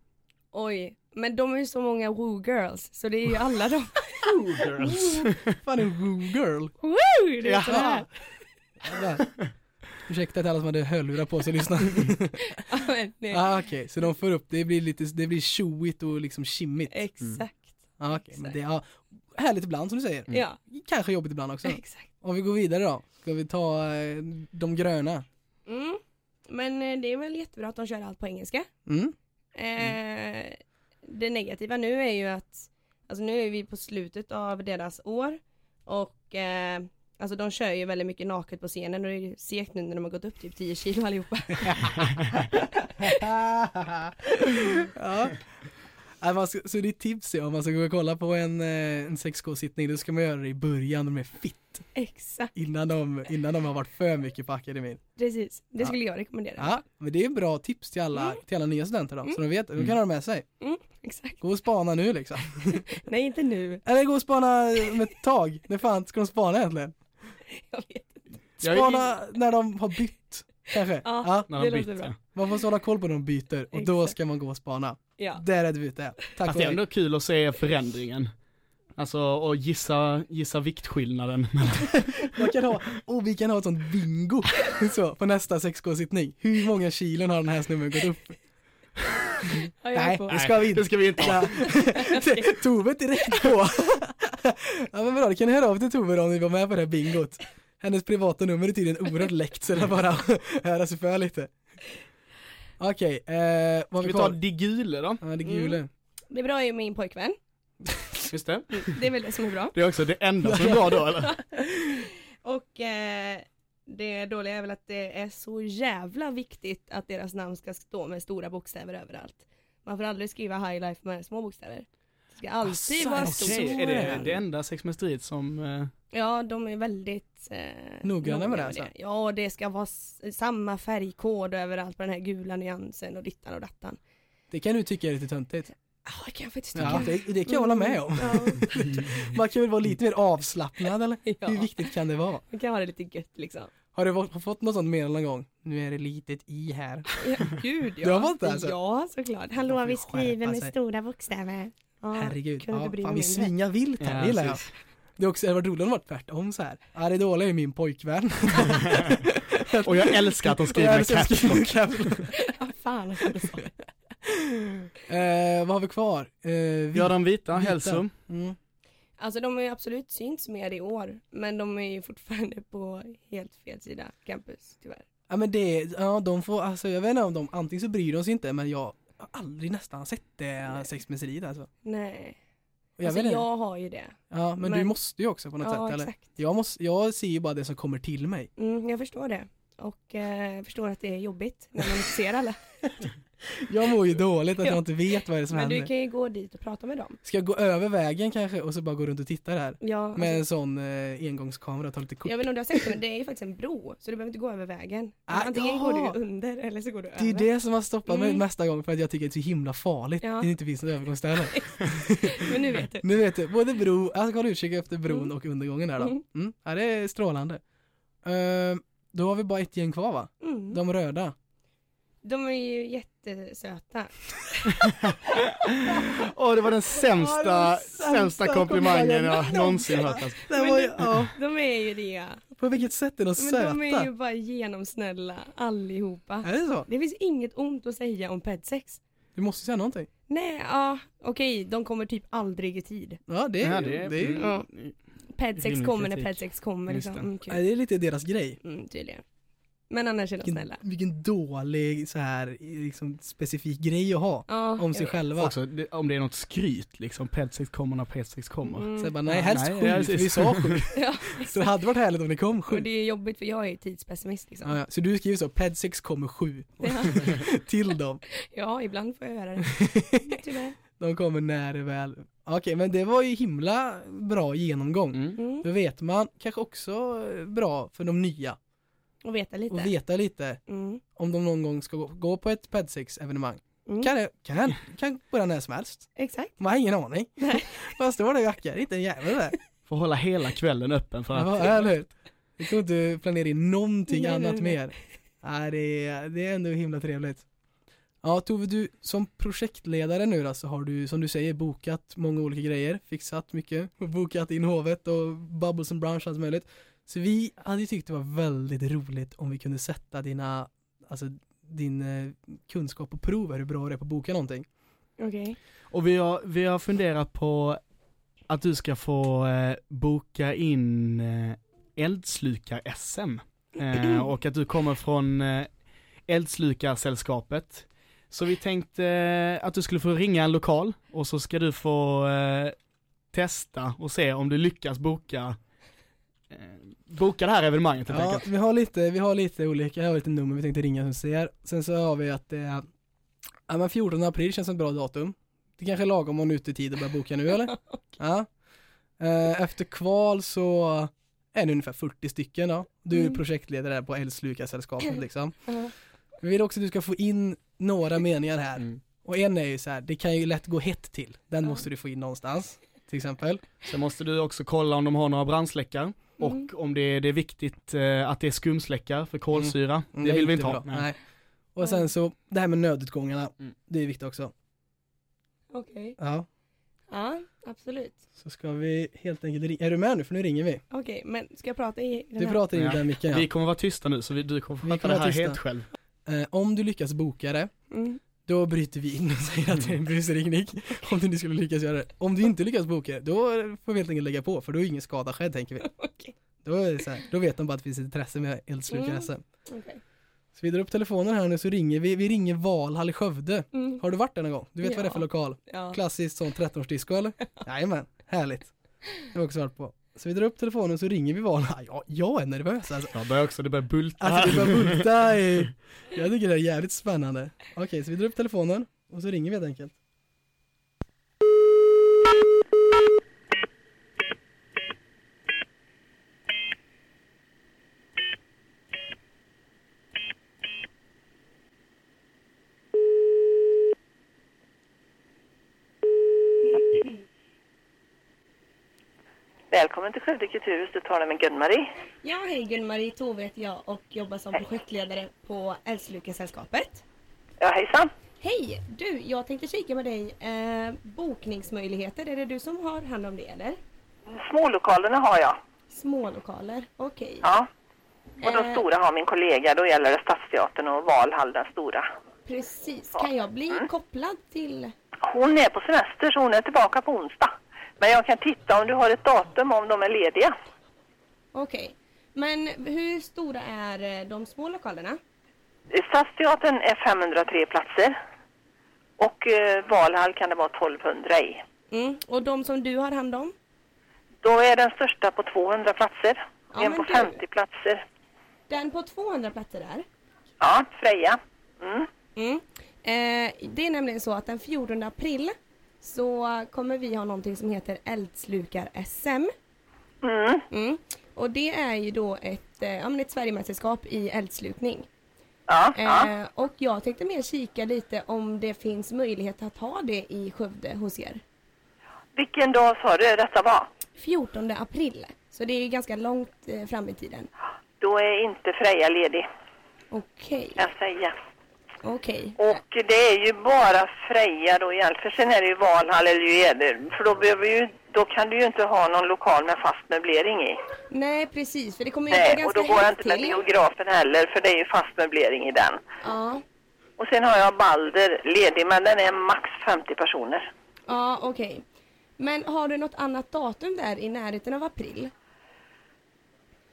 [SPEAKER 3] oj, men de är ju så många woo girls så det är ju alla de.
[SPEAKER 2] Girls.
[SPEAKER 1] Fan en woo girl.
[SPEAKER 3] Woo! Det är liksom
[SPEAKER 2] Jaha.
[SPEAKER 3] sådär.
[SPEAKER 1] Där. Ursäkta till alla som hade hörlurar på sig och lyssnade.
[SPEAKER 3] Ja, men det-
[SPEAKER 1] ah, Okej, så de får upp, det blir lite, det blir tjoigt och liksom kimmigt.
[SPEAKER 3] Exakt.
[SPEAKER 1] Ah, okay. Men det är ja, härligt ibland som du säger.
[SPEAKER 3] Ja,
[SPEAKER 1] Kanske jobbigt ibland också.
[SPEAKER 3] exakt.
[SPEAKER 1] Om vi går vidare då, ska vi ta eh, de gröna?
[SPEAKER 3] Mm. Men eh, det är väl jättebra att de kör allt på engelska.
[SPEAKER 1] Mm.
[SPEAKER 3] Eh, det negativa nu är ju att alltså nu är vi på slutet av deras år och eh, alltså de kör ju väldigt mycket naket på scenen och det är ju segt nu när de har gått upp typ 10 kilo allihopa.
[SPEAKER 1] ja. Nej, man ska, så ditt tips är om man ska gå och kolla på en, eh, en 6K-sittning, då ska man göra det i början när de är fit.
[SPEAKER 3] Exakt,
[SPEAKER 1] Innan de, innan de har varit för mycket på akademin.
[SPEAKER 3] precis. Det skulle jag rekommendera.
[SPEAKER 1] Ja, men det är bra tips till alla, till alla nya studenter då, så de vet, de kan ha det med sig.
[SPEAKER 3] Exakt.
[SPEAKER 1] Gå och spana nu liksom.
[SPEAKER 3] Nej inte nu.
[SPEAKER 1] Eller gå och spana om ett tag, när fan ska de spana egentligen?
[SPEAKER 3] Jag vet.
[SPEAKER 2] Jag är-
[SPEAKER 1] Spana när de har bytt, kanske?
[SPEAKER 3] Ja.
[SPEAKER 1] Ja,
[SPEAKER 2] När
[SPEAKER 3] Det
[SPEAKER 2] de
[SPEAKER 3] låter
[SPEAKER 2] byter.
[SPEAKER 3] bra.
[SPEAKER 1] man får hålla koll på när de byter och då
[SPEAKER 3] Exakt.
[SPEAKER 1] ska man gå och spana.
[SPEAKER 3] Ja.
[SPEAKER 1] Där är du ute. Tack
[SPEAKER 2] Fast
[SPEAKER 1] och
[SPEAKER 2] det är
[SPEAKER 1] hej.
[SPEAKER 2] ändå kul att se förändringen. Alltså, och gissa, gissa viktskillnaden.
[SPEAKER 1] Man kan ha, och vi kan ha ett sånt bingo så, på nästa 6K-sittning. Hur många kilon har den här snubben gått upp?
[SPEAKER 3] Ja, jag är
[SPEAKER 1] Nej,
[SPEAKER 3] på.
[SPEAKER 1] det ska vi
[SPEAKER 2] Det
[SPEAKER 1] inte.
[SPEAKER 2] ska vi inte ha.
[SPEAKER 1] Tove direkt på. ja men bra, då kan ni höra av till Tove då om ni var med på det här bingot. Hennes privata nummer är tydligen oerhört läckt så det är bara att höra sig för lite. Okej, eh, vad har
[SPEAKER 2] Ska
[SPEAKER 1] vi
[SPEAKER 2] vi ta
[SPEAKER 1] kvar?
[SPEAKER 2] Digule då?
[SPEAKER 1] Ja, det gula.
[SPEAKER 3] Mm. Det bra är ju min pojkvän.
[SPEAKER 2] Just det.
[SPEAKER 3] Det är väl det som är bra.
[SPEAKER 2] Det är också det enda som är bra då eller?
[SPEAKER 3] Och eh, det dåliga är väl att det är så jävla viktigt att deras namn ska stå med stora bokstäver överallt. Man får aldrig skriva high life med små bokstäver. Det ska alltid
[SPEAKER 1] Asså,
[SPEAKER 3] vara
[SPEAKER 1] okej.
[SPEAKER 3] stort.
[SPEAKER 1] Så
[SPEAKER 2] Alltså, är
[SPEAKER 1] är
[SPEAKER 2] det
[SPEAKER 1] det.
[SPEAKER 2] det enda sexmästeriet som... eh,
[SPEAKER 3] Ja, de är väldigt eh,
[SPEAKER 1] Noggranna med det
[SPEAKER 3] noga
[SPEAKER 1] alltså?
[SPEAKER 3] Ja, och det ska vara s- samma färgkod överallt på den här gula nyansen och dittan och dattan.
[SPEAKER 1] Det kan du tycka är lite töntigt.
[SPEAKER 3] Ja, det kan jag faktiskt tycka. Mm.
[SPEAKER 1] Ja, det, det kan jag hålla med om.
[SPEAKER 3] Ja,
[SPEAKER 1] Man kan väl vara lite mer avslappnad eller?
[SPEAKER 3] Ja.
[SPEAKER 1] Hur viktigt kan det vara?
[SPEAKER 3] det kan vara lite gött liksom.
[SPEAKER 1] Har du varit- fått något sånt meddelande någon gång? Nu är det litet i här.
[SPEAKER 3] Ja, gud ja.
[SPEAKER 1] Du har fått det, alltså?
[SPEAKER 3] Ja, såklart.
[SPEAKER 1] Hallå, Man får ju vi skriver skärpa med sig.
[SPEAKER 3] stora bokstäver. Ja,
[SPEAKER 1] Herregud.
[SPEAKER 3] kunde
[SPEAKER 1] Ja,
[SPEAKER 3] bry
[SPEAKER 1] fan,
[SPEAKER 3] mig
[SPEAKER 1] vi
[SPEAKER 3] mindre.
[SPEAKER 1] svingar vilt här, det gillar jag.
[SPEAKER 2] precis.
[SPEAKER 1] Det är också, det var roligt om det varit tvärtom så här. Ja det dåliga är ju min pojkvän.
[SPEAKER 2] Och jag älskar att de skriver
[SPEAKER 1] Jag
[SPEAKER 2] med
[SPEAKER 1] älskar att
[SPEAKER 2] caps
[SPEAKER 1] skriva
[SPEAKER 2] lock.
[SPEAKER 1] caps lock.
[SPEAKER 3] Vad fan kan det så?
[SPEAKER 1] Eh, Vad har vi kvar? Eh, vi,
[SPEAKER 2] Ja, de vita,
[SPEAKER 1] Vita.
[SPEAKER 2] hälsum.
[SPEAKER 1] mm.
[SPEAKER 3] Alltså de har ju absolut synts mer i år, men de är ju fortfarande på helt fel sida campus tyvärr.
[SPEAKER 1] Ja men det, ja de får, alltså jag vet inte om de, antingen så bryr de sig inte men jag har aldrig nästan sett det sexmässeriet alltså.
[SPEAKER 3] Nej.
[SPEAKER 1] Jag
[SPEAKER 3] alltså
[SPEAKER 1] vet inte.
[SPEAKER 3] jag har ju det.
[SPEAKER 1] ja men, du
[SPEAKER 3] men-
[SPEAKER 1] måste ju också på något
[SPEAKER 3] Ja
[SPEAKER 1] sätt eller?
[SPEAKER 3] exakt.
[SPEAKER 1] Jag, måste, jag ser ju bara det som kommer till mig.
[SPEAKER 3] Mm, jag förstår det. Och eh, jag förstår att det är jobbigt när man inte ser alla.
[SPEAKER 1] Jag mår ju dåligt att
[SPEAKER 3] Ja.
[SPEAKER 1] jag inte vet vad det är som
[SPEAKER 3] men
[SPEAKER 1] händer.
[SPEAKER 3] du kan ju gå dit och prata med dem.
[SPEAKER 1] Ska jag gå över vägen kanske och så bara gå runt och titta där?
[SPEAKER 3] Ja, alltså,
[SPEAKER 1] Med en sån eh, engångskamera och ta lite kort.
[SPEAKER 3] jag vet inte om du har sett det, men det är ju faktiskt en bro, så du behöver inte gå över vägen.
[SPEAKER 1] Ah,
[SPEAKER 3] Antingen
[SPEAKER 1] ja.
[SPEAKER 3] går du ju under eller så går du
[SPEAKER 1] Det är
[SPEAKER 3] över.
[SPEAKER 1] det som har stoppat mig
[SPEAKER 3] Mm.
[SPEAKER 1] nästa gång för att jag tycker att det är så himla farligt
[SPEAKER 3] Ja.
[SPEAKER 1] att det inte finns något övergångsställe.
[SPEAKER 3] Men nu vet du.
[SPEAKER 1] nu vet du, både bro, jag ska hålla utkik efter bron
[SPEAKER 3] Mm.
[SPEAKER 1] och undergången där då.
[SPEAKER 3] Mm.
[SPEAKER 1] Mm. Ja det är strålande. Ehm, då har vi bara ett gäng kvar va?
[SPEAKER 3] Mm.
[SPEAKER 1] De röda.
[SPEAKER 3] De är ju jättesöta.
[SPEAKER 2] Åh, det var den
[SPEAKER 1] Ja,
[SPEAKER 2] sämsta,
[SPEAKER 1] den sämsta
[SPEAKER 2] sämsta komplimangen jag
[SPEAKER 1] komplimangen.
[SPEAKER 2] någonsin hört. Alltså.
[SPEAKER 1] Det
[SPEAKER 3] Men
[SPEAKER 1] var, ju-
[SPEAKER 3] det-
[SPEAKER 1] ja.
[SPEAKER 3] De är ju det.
[SPEAKER 1] På vilket sätt är de
[SPEAKER 3] Men
[SPEAKER 1] söta?
[SPEAKER 3] de är ju bara genomsnälla allihopa.
[SPEAKER 1] Är det så?
[SPEAKER 3] Det finns inget ont att säga om pedsex.
[SPEAKER 1] Du måste säga någonting.
[SPEAKER 3] Nej, ja, okej, de kommer typ aldrig i tid.
[SPEAKER 1] Ja det är,
[SPEAKER 2] Ja,
[SPEAKER 1] det är,
[SPEAKER 2] det är-
[SPEAKER 3] Ja. Pedsex
[SPEAKER 2] Rimlig
[SPEAKER 3] kommer när
[SPEAKER 2] kritik.
[SPEAKER 3] pedsex kommer
[SPEAKER 2] Just
[SPEAKER 3] liksom.
[SPEAKER 2] det.
[SPEAKER 3] Mm,
[SPEAKER 1] ja,
[SPEAKER 3] kul.
[SPEAKER 1] det är lite deras grej.
[SPEAKER 3] Mm, tydligen. Men annars är de
[SPEAKER 1] Vilken,
[SPEAKER 3] snälla.
[SPEAKER 1] vilken dålig så här liksom, specifik grej att ha.
[SPEAKER 3] Ja,
[SPEAKER 1] Om
[SPEAKER 3] jag
[SPEAKER 1] sig
[SPEAKER 3] vet.
[SPEAKER 1] själva.
[SPEAKER 2] Också, det, om det är något skryt liksom, pedsex kommer när pedsex kommer.
[SPEAKER 1] Så jag
[SPEAKER 3] Mm.
[SPEAKER 1] bara, nej
[SPEAKER 2] Ja,
[SPEAKER 1] helst
[SPEAKER 2] nej,
[SPEAKER 1] sju,
[SPEAKER 2] ja,
[SPEAKER 1] för vi
[SPEAKER 2] precis.
[SPEAKER 1] sa sju.
[SPEAKER 3] Ja,
[SPEAKER 1] Så det hade varit härligt om det kom sju.
[SPEAKER 3] och det är jobbigt för jag är ju tidspessimist liksom.
[SPEAKER 1] Ja, ja. Så du skriver så, pedsex kommer sju
[SPEAKER 3] Ja.
[SPEAKER 1] till dem.
[SPEAKER 3] ja, ibland får jag göra det. Tyvärr.
[SPEAKER 1] De kommer när det väl. Okej, men det var ju himla bra genomgång.
[SPEAKER 2] Mm.
[SPEAKER 3] Mm.
[SPEAKER 1] Då vet man kanske också eh, bra för de nya.
[SPEAKER 3] Och veta lite.
[SPEAKER 1] och veta lite
[SPEAKER 3] Mm.
[SPEAKER 1] om de någon gång ska gå, gå på ett Pedsex-evenemang.
[SPEAKER 3] Mm.
[SPEAKER 1] Kan, det, kan, kan börja när som helst.
[SPEAKER 3] Exakt.
[SPEAKER 1] Man har ingen aning. Man står där och jackar, inte en jävel där.
[SPEAKER 2] Får hålla hela kvällen öppen för att...
[SPEAKER 1] Ja, eller hur? Vi kommer inte planera in någonting
[SPEAKER 3] Nej, nej,
[SPEAKER 1] annat
[SPEAKER 3] nej.
[SPEAKER 1] mer. Nej, det är, det är ändå himla trevligt. Ja, Tove, du som projektledare nu då, så har du som du säger bokat många olika grejer, fixat mycket, och bokat in hovet och Bubbles and Brunch och allt möjligt. Så vi hade ju tyckt det var väldigt roligt om vi kunde sätta dina, alltså din eh, kunskap på prov här, hur bra du är på att boka någonting.
[SPEAKER 3] Okej.
[SPEAKER 2] Och vi har, vi har funderat på att du ska få eh, boka in eh, eldslukar-SM. Eh, och att du kommer från eh, Eldslukar-sällskapet. Så vi tänkte eh, att du skulle få ringa en lokal och så ska du få eh, testa och se om du lyckas boka eh, Boka det här evenemanget helt
[SPEAKER 1] Ja,
[SPEAKER 2] enkelt.
[SPEAKER 1] vi har lite, vi har lite olika, jag har lite nummer vi tänkte ringa som ser. Sen så har vi att det är, ja men 14 april känns som ett bra datum. Det kanske är lagom om man är ute i tid och börjar boka nu eller? Ja. Eh, Efter kval så är det ungefär 40 stycken då. Du är
[SPEAKER 3] Mm.
[SPEAKER 1] projektledare här på Älvslukarsällskapet liksom.
[SPEAKER 3] Ja.
[SPEAKER 1] Vi vill också att du ska få in några meningar här.
[SPEAKER 2] Mm.
[SPEAKER 1] Och en är ju så här, det kan ju lätt gå hett till. Den
[SPEAKER 3] Ja.
[SPEAKER 1] måste du få in någonstans. Till exempel.
[SPEAKER 2] Sen måste du också kolla om de har några brandsläckare och
[SPEAKER 3] Mm.
[SPEAKER 2] om det är, det är viktigt eh, att det är skumsläckare för kolsyra.
[SPEAKER 1] Mm,
[SPEAKER 2] Det
[SPEAKER 1] är
[SPEAKER 2] vill vi inte ha.
[SPEAKER 1] bra. Nej. Och sen så, det här med nödutgångarna.
[SPEAKER 2] Mm.
[SPEAKER 1] Det är viktigt också.
[SPEAKER 3] Okej.
[SPEAKER 1] Ja.
[SPEAKER 3] Ja, absolut.
[SPEAKER 1] Så ska vi helt enkelt ringa. Är du med nu? För nu ringer vi.
[SPEAKER 3] Okej, men ska jag prata i den
[SPEAKER 1] Du
[SPEAKER 3] här?
[SPEAKER 1] pratar in i
[SPEAKER 2] Ja.
[SPEAKER 1] den micken ja.
[SPEAKER 2] Vi kommer vara tysta nu så vi, du kommer få
[SPEAKER 1] Vi
[SPEAKER 2] fatta
[SPEAKER 1] kommer
[SPEAKER 2] det
[SPEAKER 1] vara
[SPEAKER 2] här
[SPEAKER 1] tysta.
[SPEAKER 2] helt själv.
[SPEAKER 1] eh, Om du lyckas boka det,
[SPEAKER 3] Mm.
[SPEAKER 1] då bryter vi in och säger att det är en busringning. om du nu skulle lyckas göra det. Om du inte lyckas boka det, då får vi helt enkelt lägga på för då är ingen skada skedd tänker vi.
[SPEAKER 3] Okej.
[SPEAKER 1] Då, är det så här, då vet de bara att det finns ett intresse med eldslukare
[SPEAKER 3] Mm.
[SPEAKER 1] SM.
[SPEAKER 3] Okej.
[SPEAKER 1] Så vi drar upp telefonen här nu så ringer vi, vi ringer Valhall i Skövde.
[SPEAKER 3] Mm.
[SPEAKER 1] Har du varit där någon gång? Du vet vad det är för
[SPEAKER 3] Ja.
[SPEAKER 1] lokal?
[SPEAKER 3] Ja.
[SPEAKER 1] Klassiskt sån 13-årsdisco eller? Jajamän, härligt. Det har jag också varit på. Så vi drar upp telefonen så ringer vi Valhall. Ja, jag är nervös alltså.
[SPEAKER 2] Jag börjar också, det börjar bulta
[SPEAKER 1] Alltså det
[SPEAKER 2] här.
[SPEAKER 1] börjar bulta i... Jag tycker det är jävligt spännande. Okej, så vi drar upp telefonen och så ringer vi helt enkelt.
[SPEAKER 4] Välkommen till Skövde Kulturhus. Du talar med Gun-Marie.
[SPEAKER 3] ja, hej Gun-Marie Tove heter jag och jobbar som projektledare på Älvslukasällskapet.
[SPEAKER 4] Ja, hejsan.
[SPEAKER 3] Hej! Du, jag tänkte kika med dig. Eh, bokningsmöjligheter, är det du som har hand om det eller?
[SPEAKER 4] Smålokalerna har jag.
[SPEAKER 3] Smålokaler, okej.
[SPEAKER 4] Ja. Och de
[SPEAKER 3] Eh.
[SPEAKER 4] stora har min kollega. Då gäller det Stadsteatern och Valhall, den stora.
[SPEAKER 3] Precis, kan jag bli kopplad till...
[SPEAKER 4] Hon är på semester så hon är tillbaka på onsdag. Men jag kan titta om du har ett datum om de är lediga.
[SPEAKER 3] Okej. Men hur stora är eh, de små lokalerna?
[SPEAKER 4] Stadsteatern är 503 platser. Och eh, Valhall kan det vara 1200 i.
[SPEAKER 3] Mm. Och de som du har hand om?
[SPEAKER 4] Då är den största på 200 platser.
[SPEAKER 3] Ja,
[SPEAKER 4] en
[SPEAKER 3] men
[SPEAKER 4] på
[SPEAKER 3] du.
[SPEAKER 4] 50 platser.
[SPEAKER 3] Den på 200 platser där.
[SPEAKER 4] Ja, Freja. Mm.
[SPEAKER 3] Mm. Eh, det är nämligen så att den 14 april så kommer vi ha någonting som heter Eldslukar-SM.
[SPEAKER 4] Mm.
[SPEAKER 3] Mm. Och det är ju då ett, eh, ja, men ett Sverigemästerskap i eldslukning.
[SPEAKER 4] Ja, ja.
[SPEAKER 3] Eh, och jag tänkte mer kika lite om det finns möjlighet att ha det i Skövde hos er.
[SPEAKER 4] Vilken dag sa du detta var?
[SPEAKER 3] 14 april. Så det är ju ganska långt eh, fram i tiden.
[SPEAKER 4] Då är inte Freja ledig,
[SPEAKER 3] Okej,
[SPEAKER 4] kan jag säga.
[SPEAKER 3] okej.
[SPEAKER 4] Och det är ju bara Freja då egentligen. För sen är det ju Valhall eller ju Eder. För då, behöver ju, då kan du ju inte ha någon lokal med fast möblering i.
[SPEAKER 3] Nej precis, för det kommer ju gå
[SPEAKER 4] Nej, och
[SPEAKER 3] ganska
[SPEAKER 4] då går jag
[SPEAKER 3] hett
[SPEAKER 4] inte med
[SPEAKER 3] till.
[SPEAKER 4] biografen heller, för det är ju fast möblering i den.
[SPEAKER 3] Ja,
[SPEAKER 4] Och sen har jag Balder ledig, men den är max 50 personer.
[SPEAKER 3] ja okej. Men har du något annat datum där i närheten av april?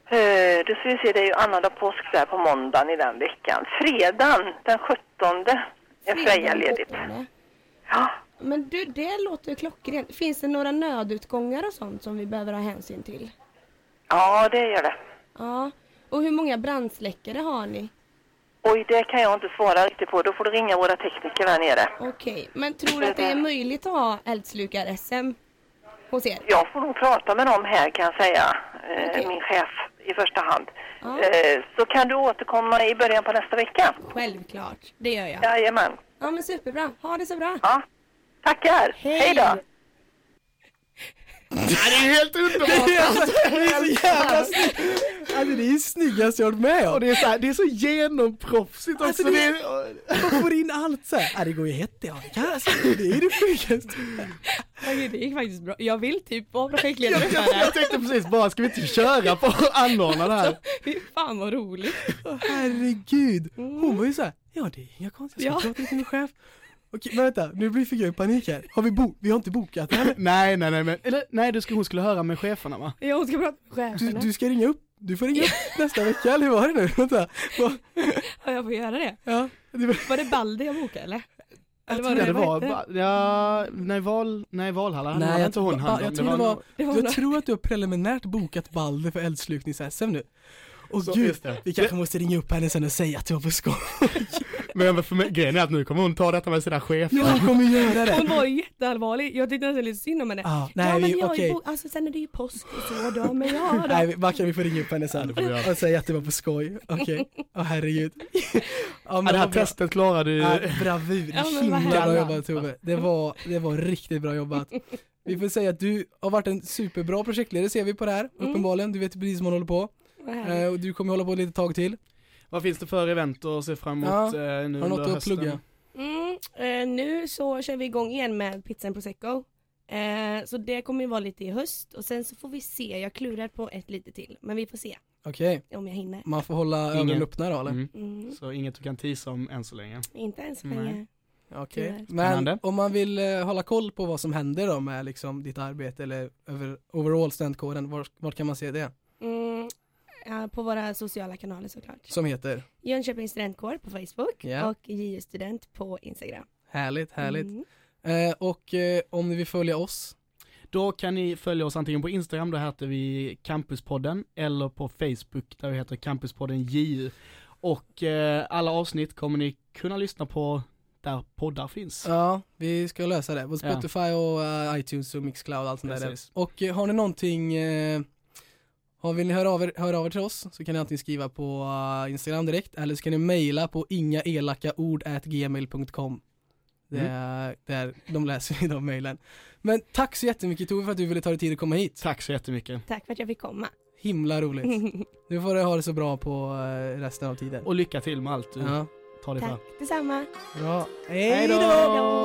[SPEAKER 4] Eh, Då ska vi se, det är ju annandag påsk där på måndagen i den veckan. Fredagen den 17 är Freja
[SPEAKER 3] Fredag den
[SPEAKER 4] ledigt.
[SPEAKER 3] 8.
[SPEAKER 4] Ja.
[SPEAKER 3] Men du, det låter klockrent. Finns det några nödutgångar och sånt som vi behöver ha hänsyn till?
[SPEAKER 4] ja, det gör det.
[SPEAKER 3] Ja. Och hur många brandsläckare har ni?
[SPEAKER 4] Oj, det kan jag inte svara riktigt på. Då får du ringa våra tekniker där nere.
[SPEAKER 3] Okej, men tror du att det är möjligt att ha eldslukar-SM hos er?
[SPEAKER 4] Jag får nog prata med dem här kan jag säga, eh,
[SPEAKER 3] Okej.
[SPEAKER 4] min chef. i första hand.
[SPEAKER 3] Ja.
[SPEAKER 4] Eh, Så kan du återkomma i början på nästa vecka.
[SPEAKER 3] Självklart, det gör jag.
[SPEAKER 4] Jajamän.
[SPEAKER 3] Ja men superbra, ha det så bra.
[SPEAKER 4] Ja. Tackar. Hej då.
[SPEAKER 2] det är helt underbart!
[SPEAKER 1] Det är alltså- det är så jävla snyggt! Alltså det är det snyggaste jag har varit med
[SPEAKER 2] Och
[SPEAKER 1] om!
[SPEAKER 2] det är så, här, det är så genomproffsigt också.
[SPEAKER 1] Alltså,
[SPEAKER 2] det
[SPEAKER 1] det
[SPEAKER 2] är,
[SPEAKER 1] Man får in allt såhär, ja det går ju hett ja, Ja, alltså, det är det sjukaste!
[SPEAKER 5] Okej, det gick faktiskt bra. Jag vill typ vara projektledare
[SPEAKER 2] jag,
[SPEAKER 5] för det
[SPEAKER 2] jag,
[SPEAKER 5] här.
[SPEAKER 2] jag tänkte precis bara, ska vi inte köra på att anordna det här?
[SPEAKER 5] Fy fan vad roligt.
[SPEAKER 1] Åh, herregud! Hon var ju såhär, ja det är inga konstigt, jag ska prata lite med min chef. Okej, men vänta, nu blir figuren panik här. Har vi bo- vi har inte bokat henne.
[SPEAKER 2] Nej, nej, nej, men, eller nej, du skulle, hon skulle höra med cheferna va?
[SPEAKER 3] Ja, hon ska prata med
[SPEAKER 1] Du,
[SPEAKER 3] cheferna.
[SPEAKER 1] du ska ringa upp, du får ringa upp nästa vecka, eller hur var det nu? Vänta. Va?
[SPEAKER 5] Ja, jag får göra det.
[SPEAKER 1] Ja, det var...
[SPEAKER 5] Var det Balder jag bokade eller? Eller
[SPEAKER 2] Ja, det var,
[SPEAKER 5] hette
[SPEAKER 2] va- ja, nej, val, nej Valhalla, nej,
[SPEAKER 1] Nej,
[SPEAKER 2] var
[SPEAKER 1] jag
[SPEAKER 2] inte hon
[SPEAKER 1] tror-
[SPEAKER 2] hand om.
[SPEAKER 1] jag tror det var-
[SPEAKER 5] Det var
[SPEAKER 1] Jag
[SPEAKER 5] några-
[SPEAKER 1] tror att du har preliminärt bokat Balder för eldsluknings-SM nu. Och
[SPEAKER 2] Så,
[SPEAKER 1] gud,
[SPEAKER 2] just det.
[SPEAKER 1] vi kanske måste ringa upp henne sen och säga att det var på skoj.
[SPEAKER 2] Men för mig, grejen är att nu kommer hon ta detta med sina chefer.
[SPEAKER 1] Ja, hon kommer göra det.
[SPEAKER 5] Hon var ju jätteallvarlig. Jag tyckte nästan lite synd om henne.
[SPEAKER 1] Ja,
[SPEAKER 3] ja
[SPEAKER 1] nej,
[SPEAKER 3] men
[SPEAKER 1] vi,
[SPEAKER 3] jag är
[SPEAKER 1] okej.
[SPEAKER 3] ju bo- alltså sen är det ju påsk och så då, men ja då.
[SPEAKER 1] Nej, vi- Mackan vi får ringa upp henne sen
[SPEAKER 2] får vi göra.
[SPEAKER 1] och säga att det var på skoj. Okej, åh herregud. Ja,
[SPEAKER 2] Ja, det här
[SPEAKER 1] vad bra.
[SPEAKER 2] testet klarar du.
[SPEAKER 1] Ja, bravur,
[SPEAKER 5] Ja, men vad
[SPEAKER 1] himla bra
[SPEAKER 5] härligt.
[SPEAKER 1] jobbat Tove. Det var, det var riktigt bra jobbat. Vi får säga att du har varit en superbra projektledare ser vi på det här, uppenbarligen. Du vet precis vad man håller på.
[SPEAKER 3] Vad härligt.
[SPEAKER 1] Eh, och du kommer hålla på ett litet tag till.
[SPEAKER 2] Vad finns det för event att se fram emot
[SPEAKER 1] Ja,
[SPEAKER 2] eh, nu
[SPEAKER 1] Har du något
[SPEAKER 2] under
[SPEAKER 1] att
[SPEAKER 2] hösten?
[SPEAKER 1] plugga?
[SPEAKER 3] Mm, eh, nu så kör vi igång igen med pizzan prosecco. Eh, så det kommer ju vara lite i höst och sen så får vi se. Jag klurar på ett lite till men vi får se
[SPEAKER 1] Okej,
[SPEAKER 3] om jag hinner.
[SPEAKER 1] man får hålla
[SPEAKER 2] Ingen.
[SPEAKER 1] ögonen öppna då eller?
[SPEAKER 2] Mm.
[SPEAKER 3] Mm,
[SPEAKER 2] Så inget du kan tisa om än så länge.
[SPEAKER 3] inte än så
[SPEAKER 2] Nej.
[SPEAKER 3] länge.
[SPEAKER 1] Okej,
[SPEAKER 3] Tyvärr.
[SPEAKER 1] men
[SPEAKER 2] Spännande.
[SPEAKER 1] om man vill eh, hålla koll på vad som händer då med liksom ditt arbete eller över, overall studentkåren, var, vart kan man se det?
[SPEAKER 3] Mm, ja, på våra sociala kanaler såklart.
[SPEAKER 1] Som heter?
[SPEAKER 3] Jönköpings studentkår på Facebook
[SPEAKER 1] Ja.
[SPEAKER 3] och JU student på Instagram.
[SPEAKER 1] Härligt, härligt.
[SPEAKER 3] Mm.
[SPEAKER 1] Eh, och eh, om ni vill följa oss,
[SPEAKER 2] Då kan ni följa oss antingen på Instagram, där heter vi Campuspodden, eller på Facebook där vi heter Campuspodden JU. Och eh, alla avsnitt kommer ni kunna lyssna på där poddar finns.
[SPEAKER 1] ja vi ska lösa det. På
[SPEAKER 2] Ja.
[SPEAKER 1] Spotify och eh, iTunes och Mixcloud och allt sånt där.
[SPEAKER 2] Precis.
[SPEAKER 1] Och eh, har ni någonting, eh, har- vill ni höra av, er, höra av er till oss så kan ni antingen skriva på eh, Instagram direkt eller så kan ni mejla på ingaelakaord.gmail.com det
[SPEAKER 2] Mm.
[SPEAKER 1] är där de läser i de mejlen. Men tack så jättemycket Tove för att du ville ta dig tid att komma hit.
[SPEAKER 2] Tack så jättemycket.
[SPEAKER 3] Tack för att jag fick komma.
[SPEAKER 1] Himla roligt. Nu får du ha det så bra på eh, resten av tiden.
[SPEAKER 2] Och lycka till med allt du
[SPEAKER 1] Ja,
[SPEAKER 2] tar dig för.
[SPEAKER 3] Tack detsamma.
[SPEAKER 1] bra.
[SPEAKER 2] Hej då!
[SPEAKER 1] Hej då!